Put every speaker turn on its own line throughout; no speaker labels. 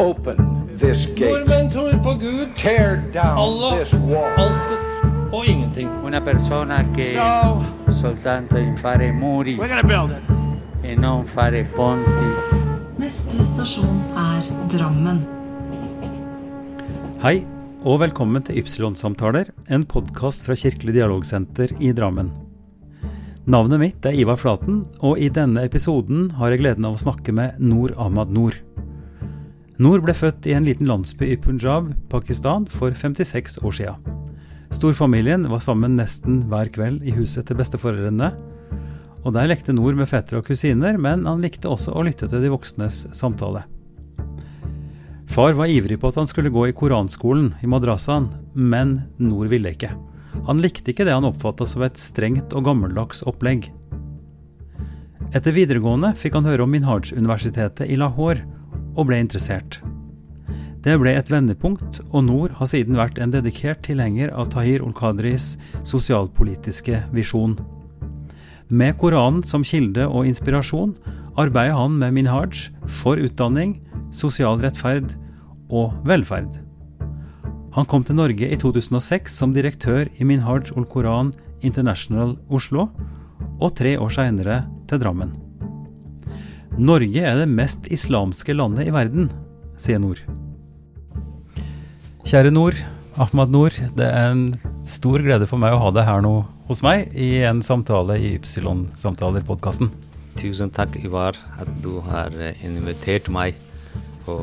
Open this gate.
Nordmenn tror på Gud,
Tear down
Allah,
this wall.
alt og ingenting.
Una persona che
So
soltanto in fare muri
we're gonna build it.
e non fare ponti.
Neste stasjon er Drammen.
Hei, og velkommen til Ypsilon-samtaler, en podkast fra Kirkelig dialogsenter i Drammen. Navnet mitt er Ivar Flaten, og i denne episoden har jeg gleden av å snakke med Noor Ahmad Noor. Noor ble født i en liten landsby i Punjab, Pakistan, for 56 år sia. Storfamilien var sammen nesten hver kveld i huset til besteforeldrene. Og der lekte Noor med fettere og kusiner, men han likte også å lytte til de voksnes samtale. Far var ivrig på at han skulle gå i koranskolen i madrassaen, men Nor ville ikke. Han likte ikke det han oppfatta som et strengt og gammeldags opplegg. Etter videregående fikk han høre om Minhaj-universitetet i Lahore, og ble interessert. Det ble et vendepunkt, og Nor har siden vært en dedikert tilhenger av Tahir ol-Qadris sosialpolitiske visjon. Med Koranen som kilde og inspirasjon arbeider han med minhaj for utdanning, sosial rettferd og velferd. Han kom til Norge i 2006 som direktør i Minhaj ol Koran International Oslo, og tre år seinere til Drammen. Norge er det mest islamske landet i verden, sier Nor. Kjære Nor, Ahmad Nor, det er en stor glede for meg å ha deg her nå hos meg i en samtale i Ypsilon-samtaler-podkasten.
Tusen takk, Ivar, at du har eh, invitert meg på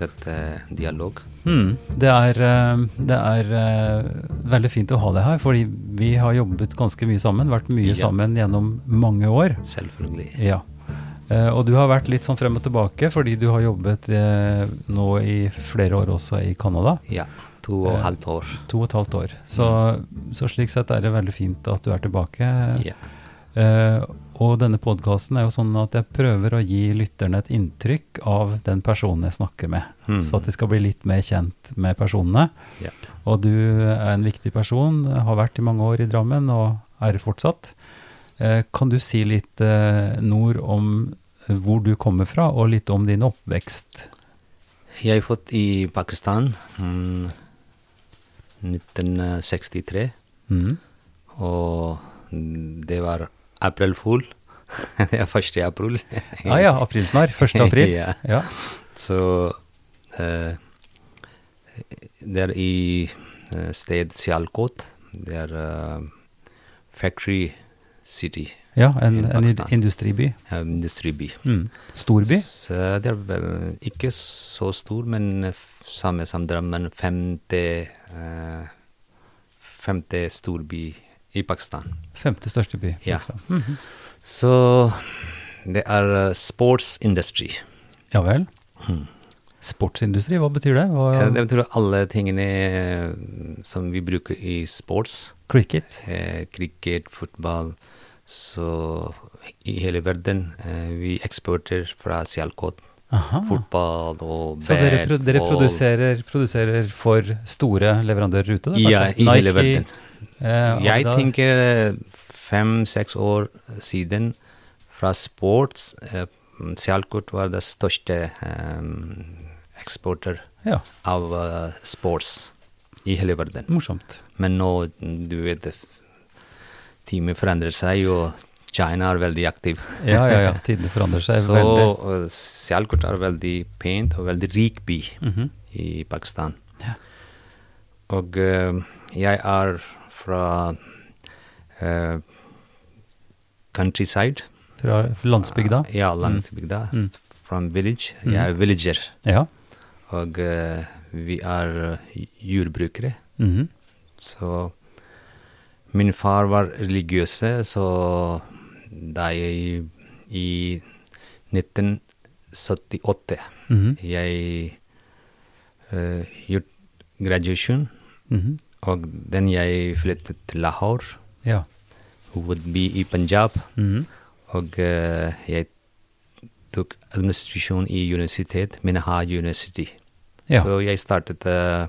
dette dialog.
Hmm. Det er, eh, det er eh, veldig fint å ha deg her, fordi vi har jobbet ganske mye sammen, vært mye
Ja.
sammen gjennom mange år.
Selvfølgelig.
Ja. Eh, Og du har vært litt sånn frem og tilbake, fordi du har jobbet eh, nå i flere år også i Canada.
Ja. To og
Eh,
halvt år.
To og et halvt år. Så, så slik sett er det veldig fint at du er tilbake.
Ja.
Eh, og denne podkasten er jo sånn at jeg prøver å gi lytterne et inntrykk av den personen jeg snakker med.
Mm.
Så at de skal bli litt mer kjent med personene.
Ja.
Og du er en viktig person, har vært i mange år i Drammen og er det fortsatt. Eh, kan du si litt, eh, Nord, om hvor du kommer fra, og litt om din oppvekst?
Jeg er født i Pakistan mm, 1963,
Mm.
og det var april full. Det er 1. april.
Ah, Ja ja, aprilsnarr. 1. april.
Ja.
ja.
Så eh, det er i eh, sted Sialkot. Det er eh, Factory City,
Ja, en,
I
en
Pakistan.
industriby.
eh, industriby.
Mm. Storby.
Så det er vel ikke så stor, men f- samme som Drammen. Femte, eh, femte storby i Pakistan.
Femte største by.
Ja.
liksom. Mhm.
Så det er eh, sportsindustri.
ja vel. Sportsindustri, hva betyr det? Hva,
Eh, Hmm. Det betyr alle tingene eh, som vi bruker i sports.
Cricket.
eh, kriket, fotball. Så i hele verden eh, vi eksporterer fra Sialkot.
Aha.
Fotball og
Så dere, pro dere
og-
produserer, produserer for store leverandører ute? Da,
Ja,
kanskje?
i hele
Nike,
verden.
eh,
Jeg
Adidas.
tenker fem-seks uh, år siden fra sports eh, Sialkot var det største eh, eksporter
Ja,
av eh, sports i hele verden.
morsomt.
Men nå, du vet, det f- teamet forandrer seg, og China er veldig aktiv.
Ja, ja, ja. Tidene forandrer seg
Så
veldig.
eh, Sialkot er veldig pent og veldig rik by
Mhm.
i Pakistan.
Ja.
Og eh, jeg er fra eh, countryside.
Fra landsbygda.
Ja, landsbygda.
Mm.
Fra village.
Mm.
Jeg er villager.
Ja.
Og eh, vi er eh, jordbrukere.
Mhm.
Så min far var religiøse, så da jeg i 1978
Mhm.
jeg eh, gjort graduation,
Mhm.
og den jeg flyttet til Lahore,
Ja.
hovedby i Punjab,
Mhm.
og eh, jeg tok administrasjon i universitet, Minhaj University.
Ja.
Så jeg startet eh,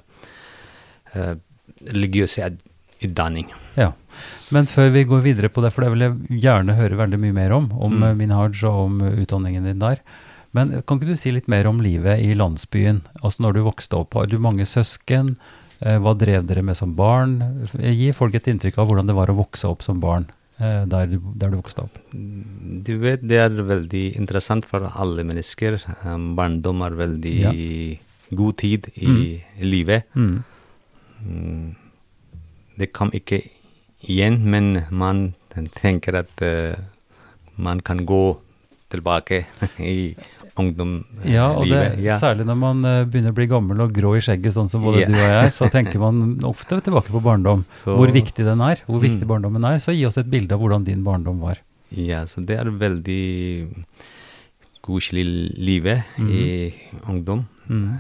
eh, religiøs ed- utdanning.
ja. Men før vi går videre på det, for det vil jeg gjerne høre veldig mye mer om, om
Mm.
eh, Minhaj og om eh, utdanningen din der. Men kan ikke du si litt mer om livet i landsbyen? Altså når du vokste opp, har du mange søsken? Eh, Hva drev dere med som barn? F- eh, Gi folk et inntrykk av hvordan det var å vokse opp som barn eh, der du, der du vokste opp.
Du vet, det er veldig interessant for alle mennesker. Um, barndom er veldig god tid i livet.
Mm.
Mm, Det kom ikke igjen, men man tenker at eh, man kan gå tilbake i ungdomslivet.
Ja, og det, særlig når man eh, begynner å bli gammel og grå i skjegget, sånn som både
Ja.
du og jeg, så tenker man ofte tilbake på barndom.
Så-
hvor viktig den er, hvor viktig
Mm.
barndommen er. Så gi oss et bilde av hvordan din barndom var.
Ja, så det er veldig koselig livet i
Mhm.
ungdom.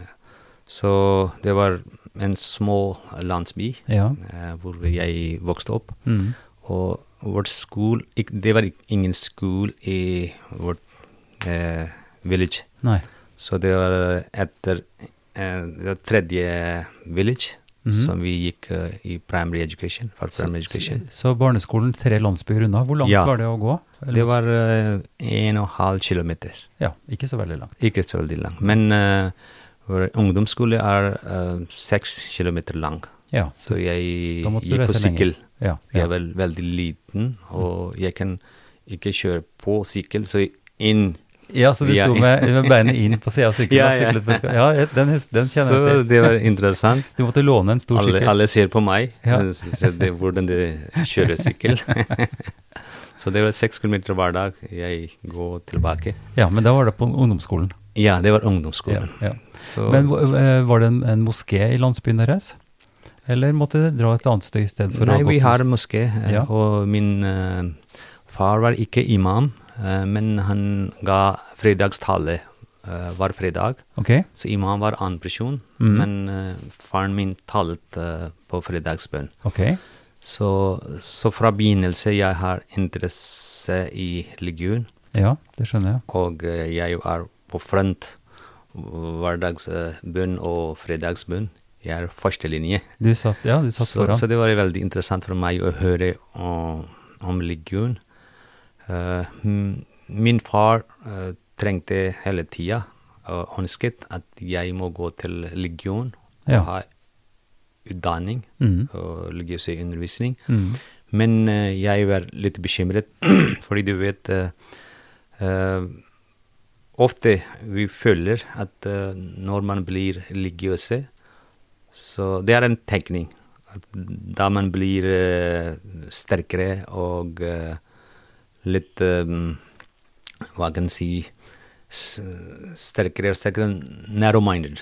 Så det var en små landsby
Ja.
eh, hvor jeg vokste opp.
Mm.
Og vårt skole ikk- Det var ikk- ingen skole i vårt eh, village.
Nei.
Så det var etter eh, det var tredje village
Mhm.
som vi gikk eh, i primary education. For primary education.
Så barneskolen tre landsbyer unna. Hvor langt
Ja.
var det å gå? Eller-
Det var eh, en og en halv kilometer.
Ja, ikke så veldig langt.
Ikke så veldig lang. Men eh, vår ungdomsskole er eh, seks kilometer lang.
Ja.
Så jeg
Da måtte du
gikk på
reise lenger.
sykkel.
Ja,
Jeg
ja. Mm.
er vel, veldig liten, og jeg kan ikke kjøre på sykkel, så inn.
ja så du
Ja.
sto med, med beinet inn på sida av sykkelen
Ja,
og
ja.
syklet på skal- Ja, den, hus- den kjenner
så
jeg til.
det var interessant.
Du måtte låne en stor
Alle,
sykkel.
alle ser på meg,
Ja.
eh, så så det, hvordan de kjører sykkel. så det var seks kilometer hver dag jeg går tilbake.
Ja, men da var det på ungdomsskolen.
Ja, det var
Ja,
ungdomsskolen.
ja.
Så,
Men hvor- eh, var det en, en moské i landsbyen deres? Eller måtte dere dra et annet sted i stedet for
Nei,
å gå
vi
på
har
moské?
moské, eh,
Ja.
og min eh, far var ikke imam, eh, men han ga fredagstale eh, hver fredag.
Ok.
Så imam var annen person,
Mhm.
men eh, faren min talte eh, på fredagsbønn.
ok.
Så, så fra begynnelse jeg har interesse i religion,
Ja, det skjønner jeg.
og eh, jeg er på front eh, hverdagsbønn og fredagsbønn. Jeg er førstelinje.
Du satt, ja, du satt
Så,
foran.
så det var veldig interessant for meg å høre om, om religion. Eh, mm, min far eh, trengte hele tida og ønsket at jeg må gå til religion
Ja.
og ha utdanning
Mhm.
og religiøs undervisning.
Mhm.
Men eh, jeg var litt bekymret, fordi du vet eh, eh, Ofte vi føler at eh, når man blir religiøse, så det er en tegning. At da man blir eh, sterkere og eh, litt eh, Hva kan jeg si s Sterkere og sterkere narrow-minded.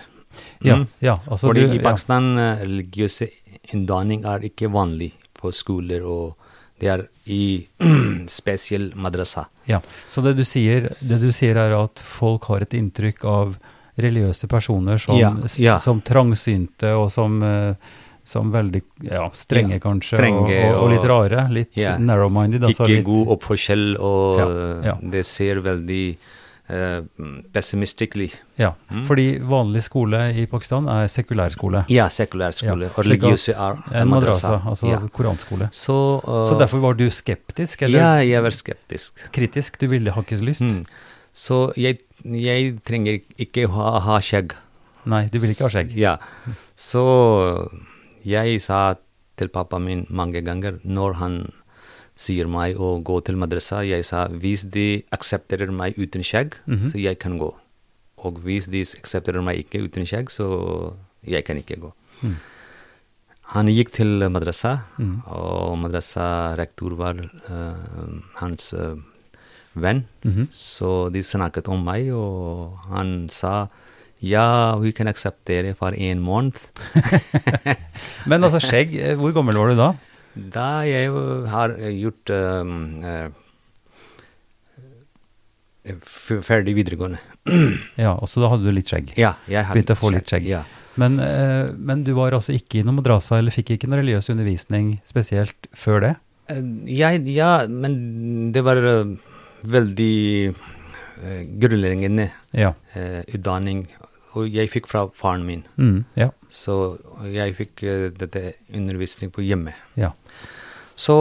Ja,
Mm.
ja, altså
Fordi
du-
i
ja.
Pakistan eh, religiøse inndanning er ikke vanlig på skoler, og det er i spesiell madrasa.
Ja, så det du, sier, det du sier er at folk har et inntrykk av religiøse personer som,
Ja,
s-
ja.
som trangsynte og som, eh, som veldig ja, strenge
Ja,
kanskje, og,
strenge
og, og litt
og-
rare, litt
Ja.
narrow-minded. Altså
ikke
litt,
god oppførsel, og
Ja, ja.
det ser veldig uh, pessimistisk ut.
Ja, fordi vanlig skole i Pakistan er sekulær skole.
Mm. Ja, sekulær skole. og
slik at
religiøse er
En madrasa, altså
ja.
koranskole.
Så, eh,
Så derfor var du skeptisk, eller
Ja, jeg var skeptisk.
kritisk, du ville ha ikke lyst?
Mm. Så jeg, jeg trenger ikke ha, ha skjegg.
Nei, du ville ikke ha skjegg.
Ja. Så jeg sa til pappa min mange ganger når han sier meg å gå til madrasa, jeg sa hvis de aksepterer meg uten skjegg,
Mhm.
så jeg kan gå. Og hvis de aksepterer meg ikke uten skjegg, så jeg kan ikke gå. Han gikk til madrasa, og madrasa-rektor var eh, hans eh, venn. Så de snakket om meg, og han sa ja, vi kan akseptere for en måned. Mm.
Men altså skjegg, eh, hvor gammel var du da?
da jeg jo har gjort um, eh, f- ferdig videregående.
Ja, og så da hadde du litt skjegg.
ja, jeg har
Begynte å få litt skjegg.
Ja.
Men, eh, men du var altså ikke i noen madrasa, eller fikk ikke noen religiøs undervisning spesielt før det?
Eh, Jeg, ja, men det var eh, veldig eh, grunnleggende
Ja.
eh, utdanning. Og jeg fikk fra faren min.
Mm, ja.
Så jeg fikk eh, dette undervisning på hjemme.
ja.
Så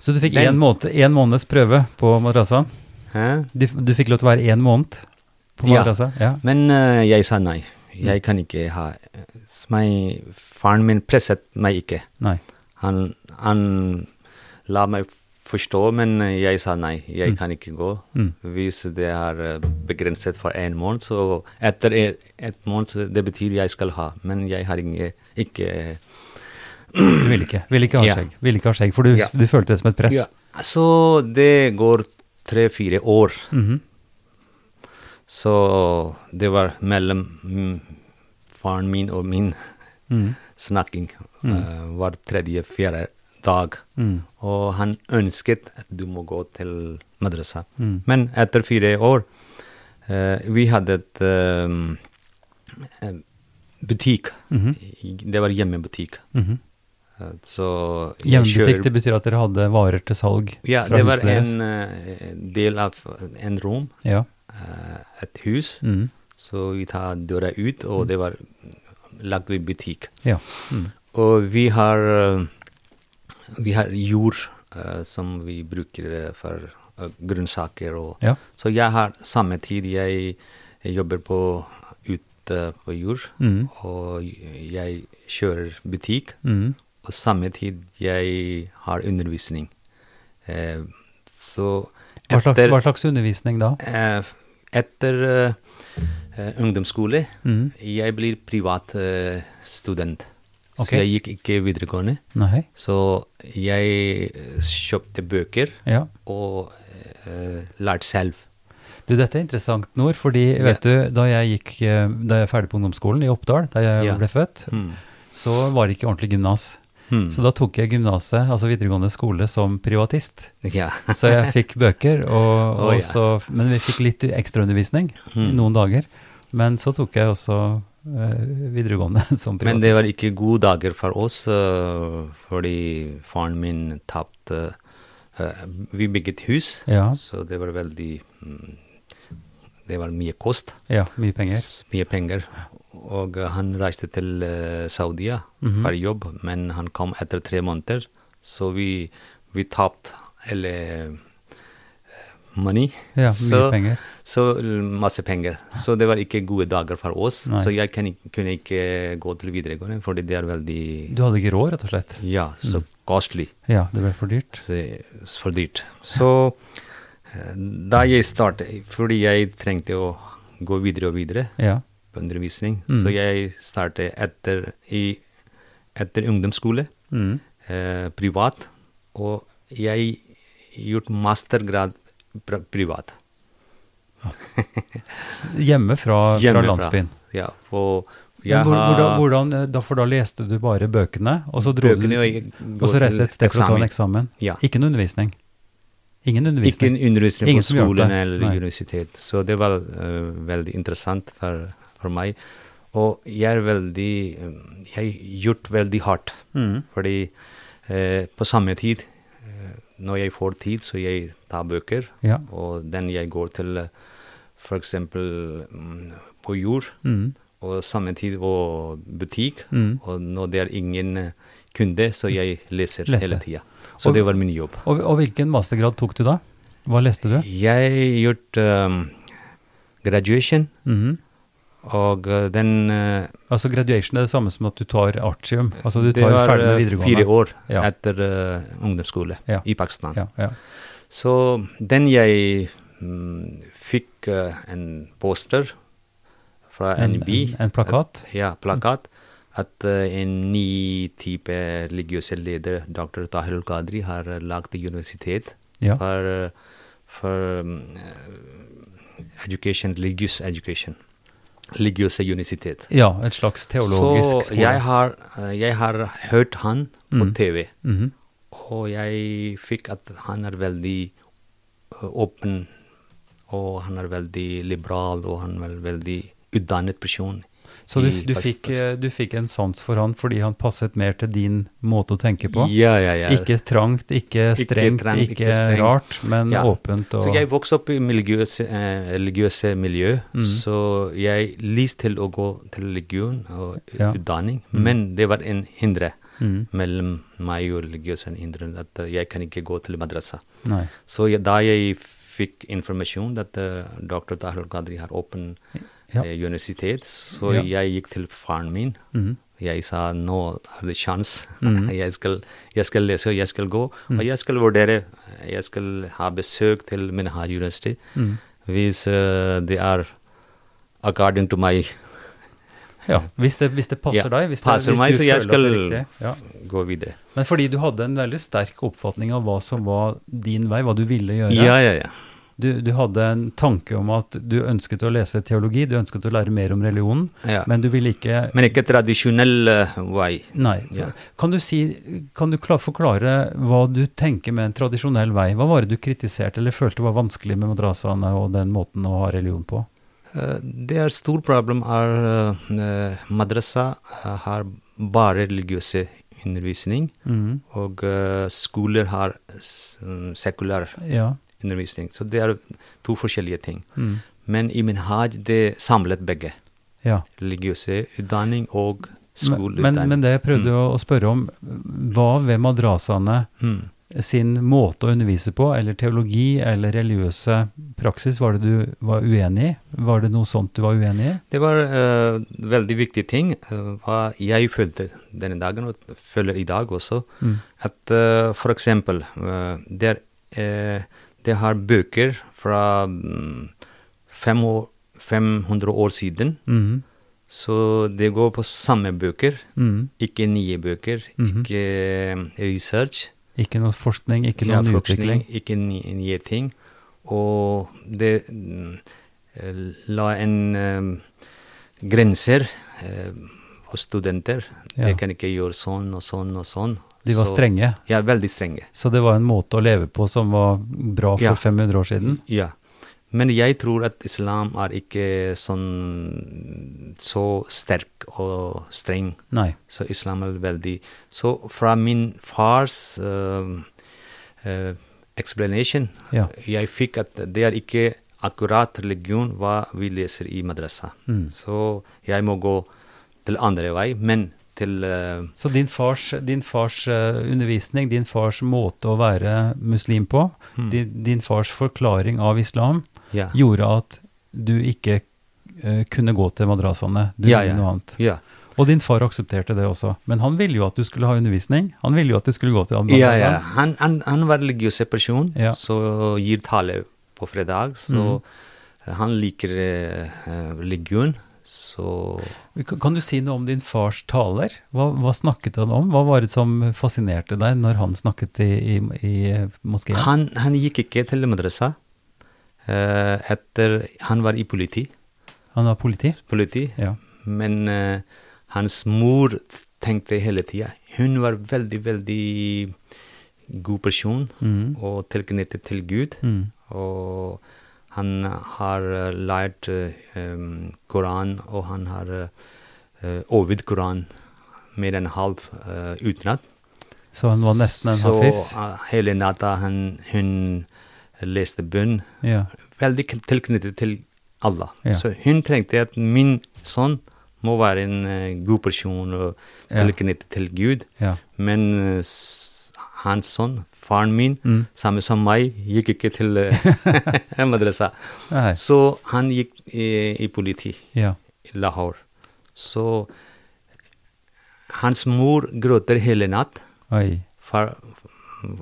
Så du fikk
Den-
én måned, en måneds prøve på madrasa?
Hæ?
Du, f- du fikk lov til å være én måned? på madrassa? Ja.
Men eh, jeg sa nei. Jeg kan ikke ha my, Faren min presset meg ikke.
Nei.
Han, han la meg forstå, men jeg sa nei. Jeg kan ikke gå.
Mm.
Hvis det er eh, begrenset for én måned, så etter e- et måned det betyr jeg skal ha. Men jeg har ikke, ikke
Du ville ikke, ville ikke ha
Ja.
skjegg, ville ikke ha skjegg for du,
Ja.
du følte det som et press.
ja. Så det går tre-fire år.
Mhm.
Så det var mellom mm, faren min og min
Mhm.
snakking eh, hver tredje, fjerde dag.
Mm.
Og han ønsket at du må gå til madrasa.
Mm.
Men etter fire år eh, Vi hadde et ehm, eh, butikk.
Mhm.
Det var hjemmebutikk.
Mhm.
Eh, Så jeg
Hjemmebutikk,
kjører-
det betyr at dere hadde varer til salg
Ja,
fra
det var
huset deres?
en eh, del av en rom,
Ja.
eh, et hus.
Mm.
Så vi tar døra ut, og det var lagt i butikk.
ja. Mm.
Og vi har, eh, vi har jord eh, som vi bruker eh, for eh, grønnsaker. Og,
Ja.
Så jeg har samme tid jeg jobber på ute på jord,
Mm.
og jeg kjører butikk.
Mm.
Og samme tid jeg har undervisning. Eh, så
Hva, slags, hva slags undervisning da?
eh, etter eh, eh, ungdomsskole
Mm.
jeg blir privat eh, student.
Ok.
Så jeg gikk ikke videregående.
Nei.
Så jeg eh, kjøpte bøker
Ja.
og eh, lærte selv.
Du, dette er interessant, Nord, fordi vet du, da jeg gikk, eh, da jeg er ferdig på ungdomsskolen i Oppdal, da jeg
Ja.
ble født,
Mm.
så var det ikke ordentlig gymnas.
Mm.
Så da tok jeg gymnaset, altså videregående skole, som privatist.
Ja.
Så jeg fikk bøker, og, og
Å, ja.
så, men vi fikk litt ekstraundervisning i
Mm.
noen dager. Men så tok jeg også eh, videregående som
Men
privatist.
det var ikke gode dager for oss, eh, fordi faren min tapte eh, Vi bygget hus,
Ja.
så det var veldig mm, Det var mye kost.
Ja, mye penger.
s- Mye penger. Og eh, han reiste til eh, Saudia
Mhm.
for jobb, men han kom etter tre måneder. Så vi, vi tapte eller eh, money.
Ja, mye
så,
penger.
Så l- masse penger. Så det var ikke gode dager for oss.
Nei.
Så jeg kan, ikke- kunne ikke gå til videregående, fordi det er veldig
Du Mm. hadde ikke råd, rett og slett.
Ja, så costly.
Ja, det ble for dyrt.
Så det er for dyrt. Så eh, da jeg startet, fordi jeg trengte å gå videre og videre,
Ja.
på undervisning.
Mm.
Så jeg startet etter, i, etter ungdomsskole,
Mm.
eh, privat, og jeg gjort mastergrad pri- privat.
Hjemme fra, fra
Hjemmefra.
landsbyen.
Ja, og jeg
Men hvor,
har
hvordan, hvordan, eh, da, for da leste du bare bøkene, og så, dro
Bøkene,
du,
og jeg
og
går
så reiste
til
et sted for å ta en eksamen?
Ja.
Ikke noe undervisning? Ingen
Ikke
undervisning?
en undervisning
Ingen
på
som hjalp
skolen
deg.
eller
Nei.
universitet. Så det var eh, veldig interessant for, for meg. Og jeg er veldig eh, Jeg gjort veldig hardt.
Mm.
Fordi eh, på samme tid, eh, når jeg får tid, så jeg tar bøker.
Ja.
Og den jeg går til eh, for eksempel mm, på jord,
Mm.
og samme tid på butikk.
Mm.
Og når det er ingen eh, kunde, så jeg leser
Leste.
hele tida. Så
Og-
det var min jobb.
Og, og hvilken mastergrad tok du da? Hva leste du?
Jeg gjort um, graduation,
Mhm.
og uh, den uh,
Altså graduation er det samme som at du tar artium? Altså du
Det
tar
var
ferdig med
uh,
videregående?
fire år
Ja.
etter uh, ungdomsskole
Ja.
i Pakistan.
Ja, ja.
Så den jeg mm, fikk uh, en poster fra
En,
NB.
en, en plakat?
At, ja, plakat. At uh, en ny type religiøse leder, dr. Tahir al-Qadri, har uh, lagt universitet
Ja.
for, uh, for um, uh, education, religious education. Religiøse universitet.
ja, et slags teologisk
Så
skole?
jeg har, uh, jeg har hørt han på
Mm.
TV.
Mhm.
Og jeg fikk at han er veldig ø, åpen, og han er veldig liberal, og han er veldig utdannet person.
Så du,
i
du,
Pak-
fikk,
Pakistan.
eh, du fikk en sans for han fordi han passet mer til din måte å tenke på?
Ja, ja, ja.
Ikke trangt, ikke strengt, ikke,
trangt, ikke strengt.
rart, men
Ja.
åpent og
Så jeg vokste opp i religiøse, eh, religiøse miljø,
Mm.
så jeg lyst til å gå til religion og
Ja.
utdanning, men det var en hindre
Mm.
mellom meg og religiøse hindre, at jeg kan ikke gå til madrasa.
Nei.
Så jeg, da jeg fikk informasjon at eh, dr. Tahir Qadri har åpen
Ja.
eh, universitet, så
Ja.
jeg gikk til faren min.
Mhm.
Jeg sa nå er det sjans.
Mhm.
jeg, skal, jeg skal lese, og jeg skal gå, og jeg skal vurdere. Jeg skal ha besøk til Minhaj University.
Mhm.
Hvis eh, det er according to my
Ja, hvis det, hvis det passer
Ja,
deg. Hvis det,
passer
hvis
meg,
du
så jeg
føler at det er
skal-
riktig, ja.
gå videre.
Men fordi du hadde en veldig sterk oppfatning av hva som var din vei, hva du ville gjøre.
Ja, ja, ja.
Du, du hadde en tanke om at du ønsket å lese teologi, du ønsket å lære mer om religionen,
Ja.
men du ville ikke
Men ikke tradisjonell eh, vei.
Nei.
Ja.
Kan du, si, kan du kla- forklare hva du tenker med en tradisjonell vei? Hva var det du kritiserte eller følte var vanskelig med madrasene og den måten å ha religion på?
Eh, Det er stor problem er eh, eh, madrasa eh, har bare religiøse undervisning,
Mhm.
og eh, skoler har s- mm, sekulær
Ja.
undervisning. Så det er to forskjellige ting.
Mhm.
Men i Minhaj det samlet begge.
ja.
Religiøse utdanning og
Men, men,
skoleutdanning.
men det jeg prøvde å, å spørre om, hva ved madrasene
Mm.
sin måte å undervise på, eller teologi eller religiøse praksis, var det du var uenig i? Var det noe sånt du var uenig i?
Det var eh, veldig viktige ting. eh, hva jeg følte denne dagen, og føler i dag også. At eh, for eksempel, eh, det, er, eh, det har bøker fra mm, fem år, 500 år siden.
Mhm.
Så det går på samme bøker,
Mhm.
ikke nye bøker,
Mhm.
ikke eh, research.
Ikke noe forskning, ikke
Ja,
noe
forskning,
nyutvikling.
Ikke nye, nye ting. Og det mm, eh, la en eh, grenser eh, for studenter.
Ja.
De kan ikke gjøre sånn og sånn og sånn.
De var
Så-
strenge,
Ja, veldig strenge.
så det var en måte å leve på som var bra for
Ja.
500 år siden.
Ja. Men jeg tror at islam er ikke sånn så sterk og streng.
Nei.
Så islam er veldig Så fra min fars eh, eh, explanation
Ja.
jeg fikk at det er ikke akkurat religion hva vi leser i madrasa.
Mm.
Så jeg må gå til andre vei, men til eh,
Så din fars, din fars eh, undervisning, din fars måte å være muslim på, din, din fars forklaring av islam,
Hmm. ja.
gjorde at du ikke eh, kunne gå til madrasene. Du
ja,
gjorde
ja.
noe annet.
Ja.
Og din far aksepterte det også. Men han ville jo at du skulle ha undervisning. Han ville jo at du skulle gå til madrasene.
ja, ja. Han, han, han var religiøs person,
Ja.
så gir tale på fredag, så
Mm.
han liker eh, religion, så
Kan- Kan du si noe om din fars taler? Hva, hva snakket han om? Hva var det som fascinerte deg når han snakket i, i, i eh, moskeen?
han, han gikk ikke til madrasa. Eh, etter Han var i politi,
Han var politi?
politi
Ja.
Men eh, hans mor tenkte hele tida Hun var veldig, veldig god person
Mhm.
og tilknyttet til Gud.
Mm.
Og han har eh, lært eh, em, Koran, og han har uh, overvidd Koran mer enn halv uh, utenat.
Så han var nesten en hafiz?
Så eh, hele natta han, hun leste bønn
Ja.
veldig k- tilknyttet til Allah.
Ja.
Så hun trengte at min sønn må være en eh, god person og
Ja.
tilknyttet til Gud.
ja.
Men eh, s- hans sønn, faren min,
Mm.
samme som meg, gikk ikke til eh, madrasa.
Nei.
Så han gikk i, i politi
Ja.
i Lahore. Så hans mor gråter hele natt
Oi.
for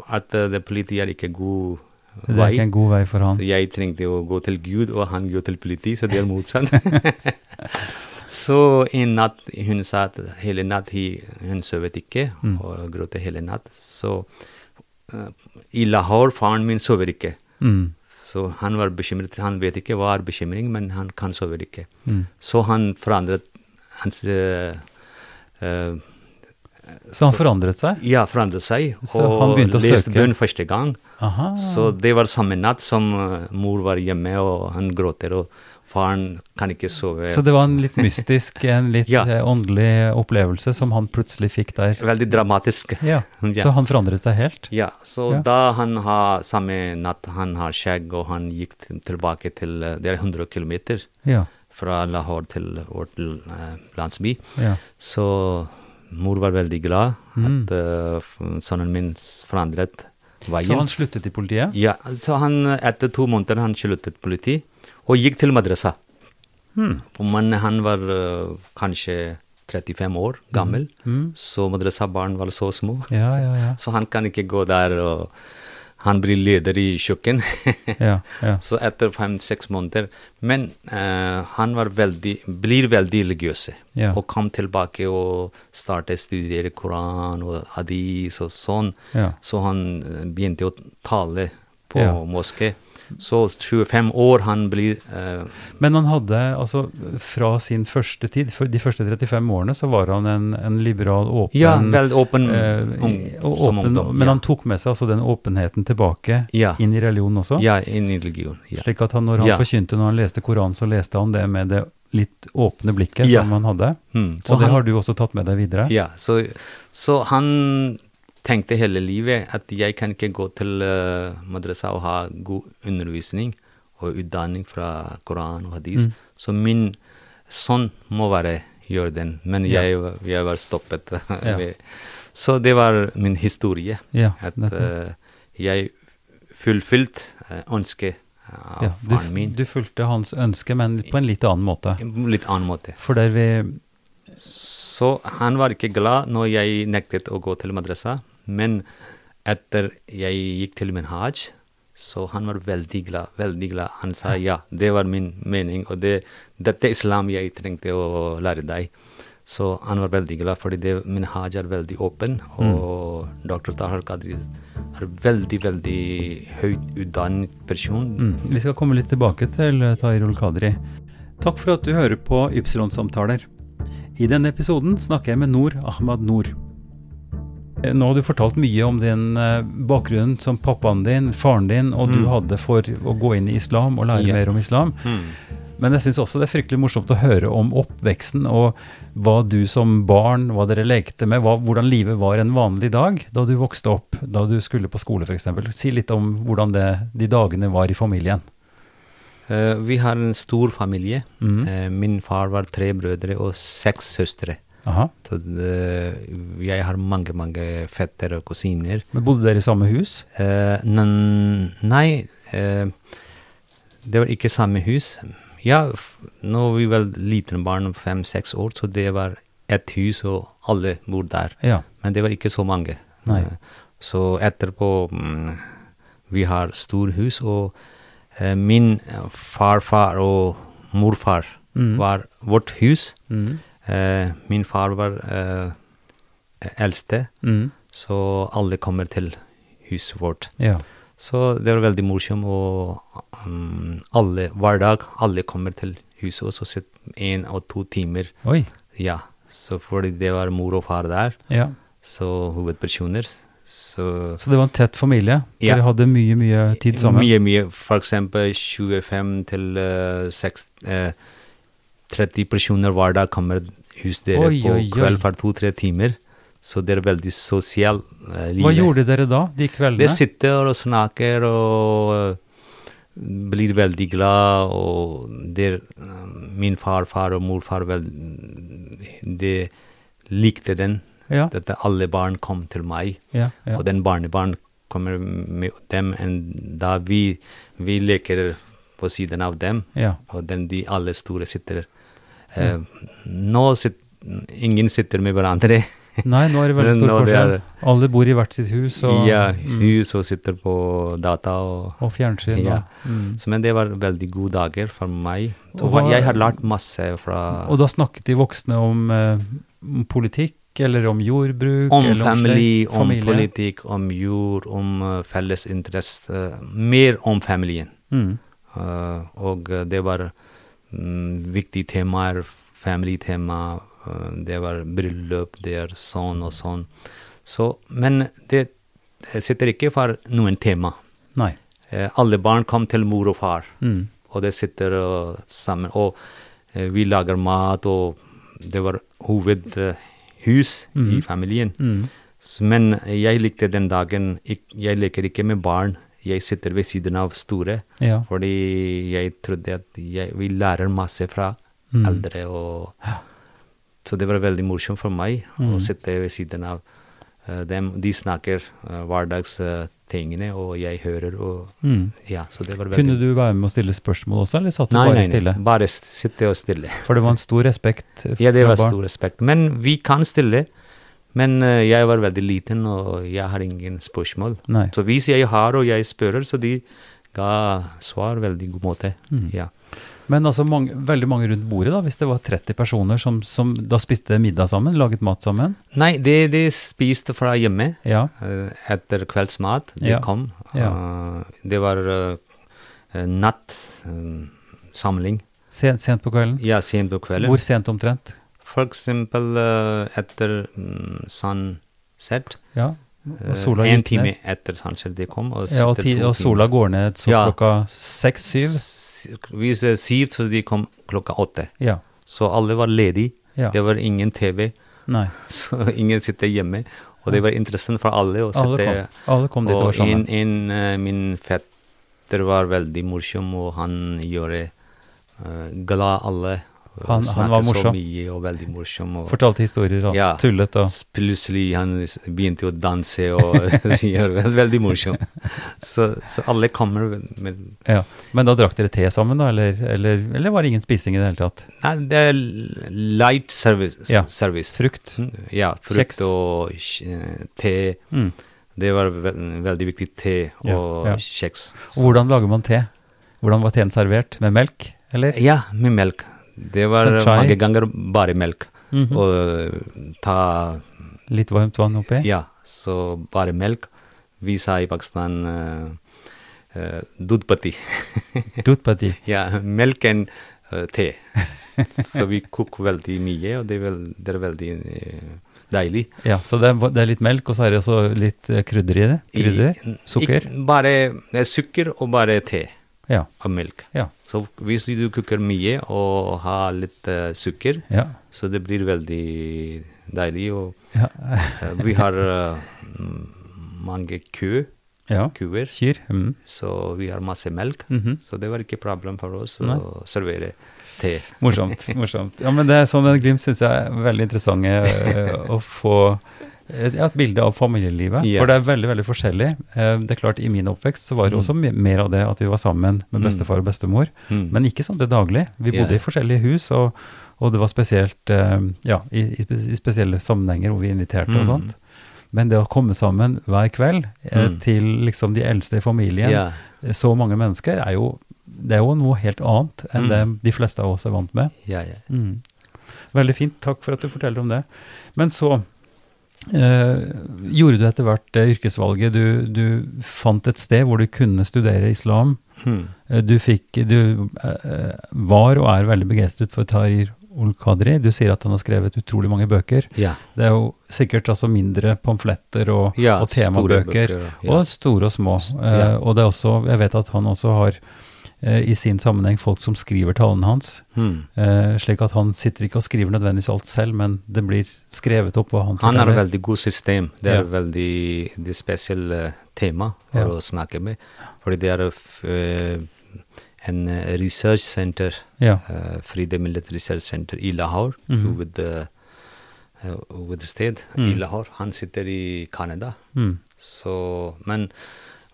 at eh, det politiet er ikke god
Det er ikke en god vei for han.
så jeg trengte å gå til Gud, og han går til politi, så det er motsatt. så en natt hun sa at hele natt hi- hun sovet ikke,
Mm.
og gråt hele natt. Så eh, i Lahore faren min sover ikke.
Mm.
Så han var bekymret. Han vet ikke hva er bekymring, men han kan sover ikke.
Mm.
Så han forandret hans eh, eh,
Så han forandret seg?
Ja, forandret seg.
Så han begynte å
leste
søke. Ah.
bønn første gang.
Aha.
Så det var samme natt som eh, mor var hjemme, og han gråter, og faren kan ikke sove.
Så det var en litt mystisk, en litt
Ja.
eh, åndelig opplevelse som han plutselig fikk der.
Veldig dramatisk.
Ja.
Ja.
Så han forandret seg helt?
Ja, så
Ja.
da han har samme natt, han har skjegg, og han gikk til- tilbake til eh, Det er 100 km
Ja.
fra Lahore til vårt eh, landsby.
ja.
Så mor var veldig glad
Mm.
at eh, f- sønnen min s- forandret veien.
Så han sluttet i politiet?
Ja, så han, etter to måneder han sluttet politi og gikk til madrasa.
Hmm.
Men han var eh, kanskje 35 år gammel, så madrasa-barn var så små.
Hmm. Ja, ja, ja.
Så han kan ikke gå der, og han blir leder i kjøkken.
Ja, ja.
Så etter fem-seks måneder. Men eh, han var veldig, blir veldig religiøs.
Ja.
Og kom tilbake og startet å studere Koran og hadis og sånn.
Ja.
Så han eh, begynte å tale på
Ja.
moské. Så 25 år han blir eh,
Men han hadde, altså fra sin første tid, for de første 35 årene, så var han en, en liberal, åpen
Ja, veldig åpen
eh,
ung-
og
som
åpen,
ungdom,
Men
ja.
han tok med seg altså den åpenheten tilbake
Ja.
inn i religionen også?
Ja, inn i religion. Ja.
Slik at han, når han
Ja.
forkynte, når han leste Koranen, så leste han det med det litt åpne blikket
Ja.
som han hadde?
Mm, så
Og det
han-
har du også tatt med deg videre?
Ja, så, så han tenkte hele livet at jeg kan ikke gå til eh, madrasa og ha god undervisning og utdanning fra Koran og hadis.
Mm.
Så min sønn må være gjøre den, men
Ja.
jeg, var- jeg var stoppet. ved- Så det var min historie.
Ja,
at
nettopp.
eh, jeg fullfylte eh, ønsket eh, av
Ja, du,
faren min.
du fulgte hans ønske, men på en litt annen måte.
Litt annen måte.
For der vi
Så han var ikke glad når jeg nektet å gå til madrasa. Men etter jeg gikk til min hajj, så han var veldig glad. veldig glad. Han sa ja, det var min mening, og det, dette er islam jeg trengte å lære deg. Så han var veldig glad, fordi det, min hajj er veldig åpen. Og dr. Tahar Qadri er veldig, veldig høyt utdannet person.
Mm. Vi skal komme litt tilbake til eh, Tahirul Kadri. Takk for at du hører på Ypsilon-samtaler. I denne episoden snakker jeg med Noor Ahmad Noor. Eh, Nå har du fortalt mye om din eh, bakgrunn som pappaen din, faren din, og du hadde for å gå inn i islam og lære
Mm. Ja. Mm.
mer om islam. Men jeg syns også det er fryktelig morsomt å høre om oppveksten og hva du som barn, hva dere lekte med, hva, hvordan livet var en vanlig dag da du vokste opp, da du skulle på skole f.eks. Si litt om hvordan det, de dagene var i familien.
Eh, vi har en stor familie. Eh, min far var tre brødre og seks søstre.
Aha.
Så det, jeg har mange, mange fettere og kusiner.
Men bodde dere i samme hus?
Eh, men nei, eh, det var ikke samme hus. Ja, f- når vi var liten barn, fem-seks år, så det var ett hus, og alle bor der.
Ja.
Men det var ikke så mange.
Nei.
Eh, Så etterpå mm, Vi har stor hus, og eh, min eh, farfar og morfar
Mm.
var vårt hus. Eh, min far var eh, eldste,
Mm.
så alle kommer til huset vårt.
Ja.
Så det var veldig morsomt, og mm, alle, hver dag alle kommer til huset, og så sitter en og to timer.
Oi.
Ja, så fordi det var mor og far der,
Ja.
så hovedpersoner. Så,
Så det var en tett familie?
Ja.
Dere hadde mye, mye tid sammen?
Mye, mye. For eksempel 25 til eh, seks- eh, 30 personer hver dag kommer hus dere
Oi,
på
oi, oi.
kveld for to-tre timer. Så det er veldig sosial eh, liv.
Hva gjorde dere da, de kveldene?
Det sitter og snakker og eh, blir veldig glad, og det er, eh, min farfar og morfar vel, de likte den.
Ja.
At alle barn kom til meg,
Ja, ja.
og den barnebarn kommer med dem, og da vi, vi leker på siden av dem,
Ja.
og den de alle store sitter. Eh,
Mm.
Nå sit, ingen sitter med hverandre.
Nei, nå er det veldig
Men
stor
nå det
forskjell.
er-
Alle bor i hvert sitt hus og, mm.
ja, hus og sitter på data og
og fjernsyn.
Ja.
Og, Mm.
Så, men det var veldig gode dager for meg. Så
Og hva-
jeg har lært masse fra
og da snakket de voksne om, eh, om politikk, eller om jordbruk,
om
eller om
family,
slekt,
om
familie.
politikk, om jord, om eh, felles interesse. eh, Mer om familien.
Mm.
Eh, og eh, det var mm, viktige temaer, family-tema, eh, det var bryllup, det er sånn og sånn. Så, men det sitter ikke for noen tema.
Nei.
Eh, alle barn kom til mor og far.
Mm.
Og det sitter eh, sammen. Og eh, vi lager mat, og det var hovedhus i familien.
Mm.
S- Men jeg likte den dagen ik- Jeg leker ikke med barn. Jeg sitter ved siden av store.
Ja.
Fordi jeg trodde at jeg, vi lærer masse fra
Mm.
eldre. Og, så det var veldig
Mm.
morsomt for meg å sitte ved siden av eh, dem. De snakker eh, hverdags eh, tingene, og jeg hører, og
Mm.
ja, så det var veldig
Kunne du være med å stille spørsmål også, eller satt du
Nei,
bare
nei, nei,
stille?
bare s- sitte og stille.
For det var en stor respekt
Ja, det
fra
var
barn.
stor respekt. Men vi kan stille. Men eh, jeg var veldig liten, og jeg har ingen spørsmål.
Nei.
Så hvis jeg har og jeg spør, så de ga svar veldig god måte.
Mm.
Ja.
Men altså mange, veldig mange rundt bordet, da, hvis det var 30 personer som, som da spiste middag sammen, laget mat sammen.
Nei, de, de spiste fra hjemme
Ja.
eh, etter kveldsmat. De
Ja.
kom.
Ja.
Eh, det var eh, natt eh, samling.
Sent, sent på kvelden.
Ja, sent på kvelden.
Hvor sent omtrent?
For eksempel eh, etter mm, sunset.
Ja. Og sola
eh, en
gikk
time
ned.
etter sunset de kom. Og
Ja, og,
sitter
ti,
to
og
timer.
sola går ned så
Ja.
klokka seks-syv.
S- Hvis det er syv, så de kom klokka åtte.
Ja.
Så alle var ledige.
Ja.
Det var ingen TV,
Nei.
så ingen sitter hjemme. Og det var interessant for alle å
Alle
sitte
kom, alle kom dit og var sånn,
Og en,
sammen.
en eh, min fetter var veldig morsom, og han gjorde eh, glad alle. og
Han- han
snakket
var
Så
morsom.
mye og veldig morsom. Og
Fortalte historier og
Ja.
tullet og
s- plutselig han s- begynte å danse og gjør veldig morsom. Så, så alle kommer med, med
ja. Men da drakk dere te sammen, da? Eller, eller, eller var det ingen spising i det hele tatt?
Nei, det er l- light service.
Ja,
service.
frukt.
Mm, Ja, frukt
Kjeks.
og eh, te.
Mm.
Det var ve veldig viktig te
Ja,
og
ja.
kjeks.
Og Hvordan lager man te? Hvordan var teen servert? Med melk, eller?
Ja, med melk. Det var
Så chai? Mhm.
mange ganger bare melk. Og ta
Litt varmt vann oppi?
Ja, så bare melk. Vi sa i Pakistan eh, eh, dudpati.
Dut pati.
ja, melk and eh, te. så vi koker veldig mye, og det er, vel, det er veldig eh, deilig.
Ja, så det er, det er litt melk, og så er det også litt eh, krydder i det. Krydder,
I-
sukker.
Ikke, bare det er sukker og bare te
Ja,
og melk.
ja,
Så hvis du koker mye og har litt eh, sukker,
ja.
så det blir veldig deilig. Og
Ja,
eh, vi har eh, m- mange ku,
ja.
kuer,
Kyr. Mm.
så vi har masse melk.
Mhm.
Så det var ikke problem for oss
Nei.
å servere te.
Morsomt. morsomt. Ja, men det er sånn en glimt syns jeg er veldig interessant eh, å få et, ja, et bilde av familielivet.
Ja.
For det er veldig veldig forskjellig. Eh, det er klart, I min oppvekst så var det også me- mer av det at vi var sammen med bestefar og bestemor.
Mm.
Men ikke sånn til daglig. Vi
Ja.
bodde i forskjellige hus, og, og det var spesielt eh, ja, i, i spe- i spesielle sammenhenger hvor vi inviterte og
Mm.
sånt. Men det å komme sammen hver kveld eh,
Mm.
til liksom de eldste i familien,
Ja.
eh, så mange mennesker, er jo, det er jo noe helt annet enn
Mm.
det de fleste av oss er vant med.
Ja, ja.
Mm. Veldig fint, takk for at du forteller om det. Men så eh, gjorde du etter hvert det yrkesvalget. Du, du fant et sted hvor du kunne studere islam.
Mm.
Eh, Du fikk, du eh, var og er veldig begeistret for Tahrir Ol-Kadri. Du sier at han har skrevet utrolig mange bøker.
ja.
Det er jo sikkert altså mindre pamfletter og,
Ja,
og
store
temabøker.
bøker, ja.
Og store og små. Eh,
Ja.
Og det er også, jeg vet at han også har eh, i sin sammenheng folk som skriver talene hans.
Mm.
Eh, slik at han sitter ikke og skriver nødvendigvis alt selv, men det blir skrevet opp hva han
Han har
forteller.
veldig godt system. Det
Ja.
er veldig det er spesielle tema for
Ja.
å snakke med. Fordi det er f- eh, en eh, research center,
Ja.
eh, Fride Millet Research Center i Lahore,
Mhm.
with the eh, with the state i
Mm.
Lahore. Han sitter i Canada.
Mm.
Så, men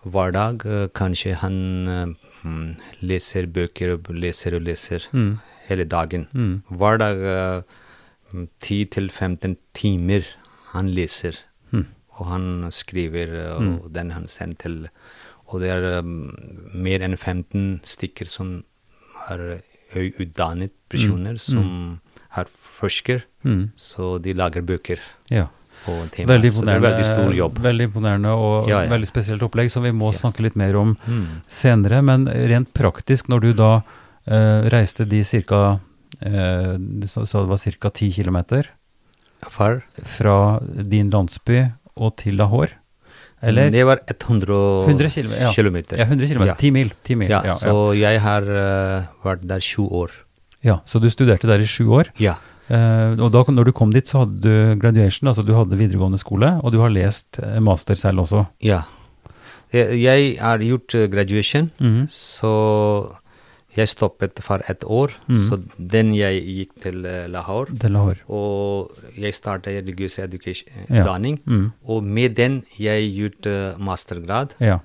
hver dag eh, kanskje han eh, mm, leser bøker og leser og leser
Mm.
hele dagen.
Mm.
Hver dag eh, 10-15 timer han leser,
Mm.
og han skriver, eh, og den han sender til Og det er mm, mer enn 15 stykker som er høyt utdannet personer, som er forsker,
Mm.
så de lager bøker
Ja.
og temaer.
Veldig
Så det er
imponerende,
veldig stor jobb.
veldig imponerende og
Ja, ja.
veldig spesielt opplegg, som vi må snakke litt mer om
Mm.
senere. Men rent praktisk, når du da eh, reiste de ca. Eh, du sa sa det var ca. 10 km
For
fra din landsby og til Lahore? Eller
Det var 100,
100 km? Ja.
kilometer.
ja, 100 km.
Ja.
10 mil. 10 mil.
Ja,
ja, ja.
Så jeg har eh, vært der sju år.
ja, så du studerte der i sju år?
Ja.
Eh, og da når du kom dit, så hadde du graduation, altså du hadde videregående skole, og du har lest eh, master selv også.
ja. Jeg, jeg har gjort eh, graduation,
Mhm.
så Jeg stoppet for et år, så den jeg gikk til eh, Lahore.
Til Lahore.
Og jeg startet religiøs education-
Ja.
utdanning.
Mm.
Og med den jeg gjort eh, mastergrad,
Ja.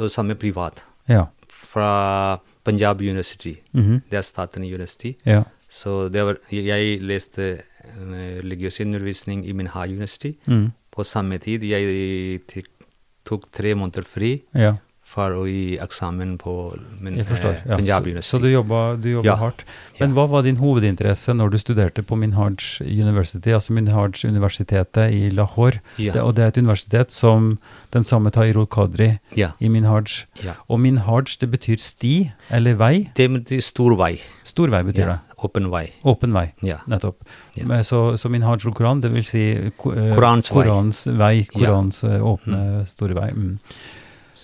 og samme privat,
Ja.
fra Punjab University.
Mhm.
Det er Staten University.
ja.
Så det var, jeg leste eh, religiøs undervisning i Minha University.
Mm.
På samme tid jeg tok- tok tre måneder fri
ja.
for å gi eksamen på min,
Jeg forstår.
eh,
Ja.
Punjab
Så,
University.
så du jobba, du jobba
Ja.
hardt. Men hva var din hovedinteresse når du studerte på Minhaj University, altså Minhaj-universitetet i Lahore?
Ja.
Det, og det er et universitet som den samme Tahirul Qadri
Ja.
i Minhaj.
Ja.
Og Minhaj, det betyr sti eller vei.
Det betyr stor vei.
Stor vei betyr
Ja,
det.
åpen vei.
Åpen vei.
Ja.
Nettopp.
Ja.
Men Så, så Minhaj ul-Koran, det vil si ko- eh,
Korans vei.
Korans vei.
Ja.
Korans eh, åpne, store vei. Mm.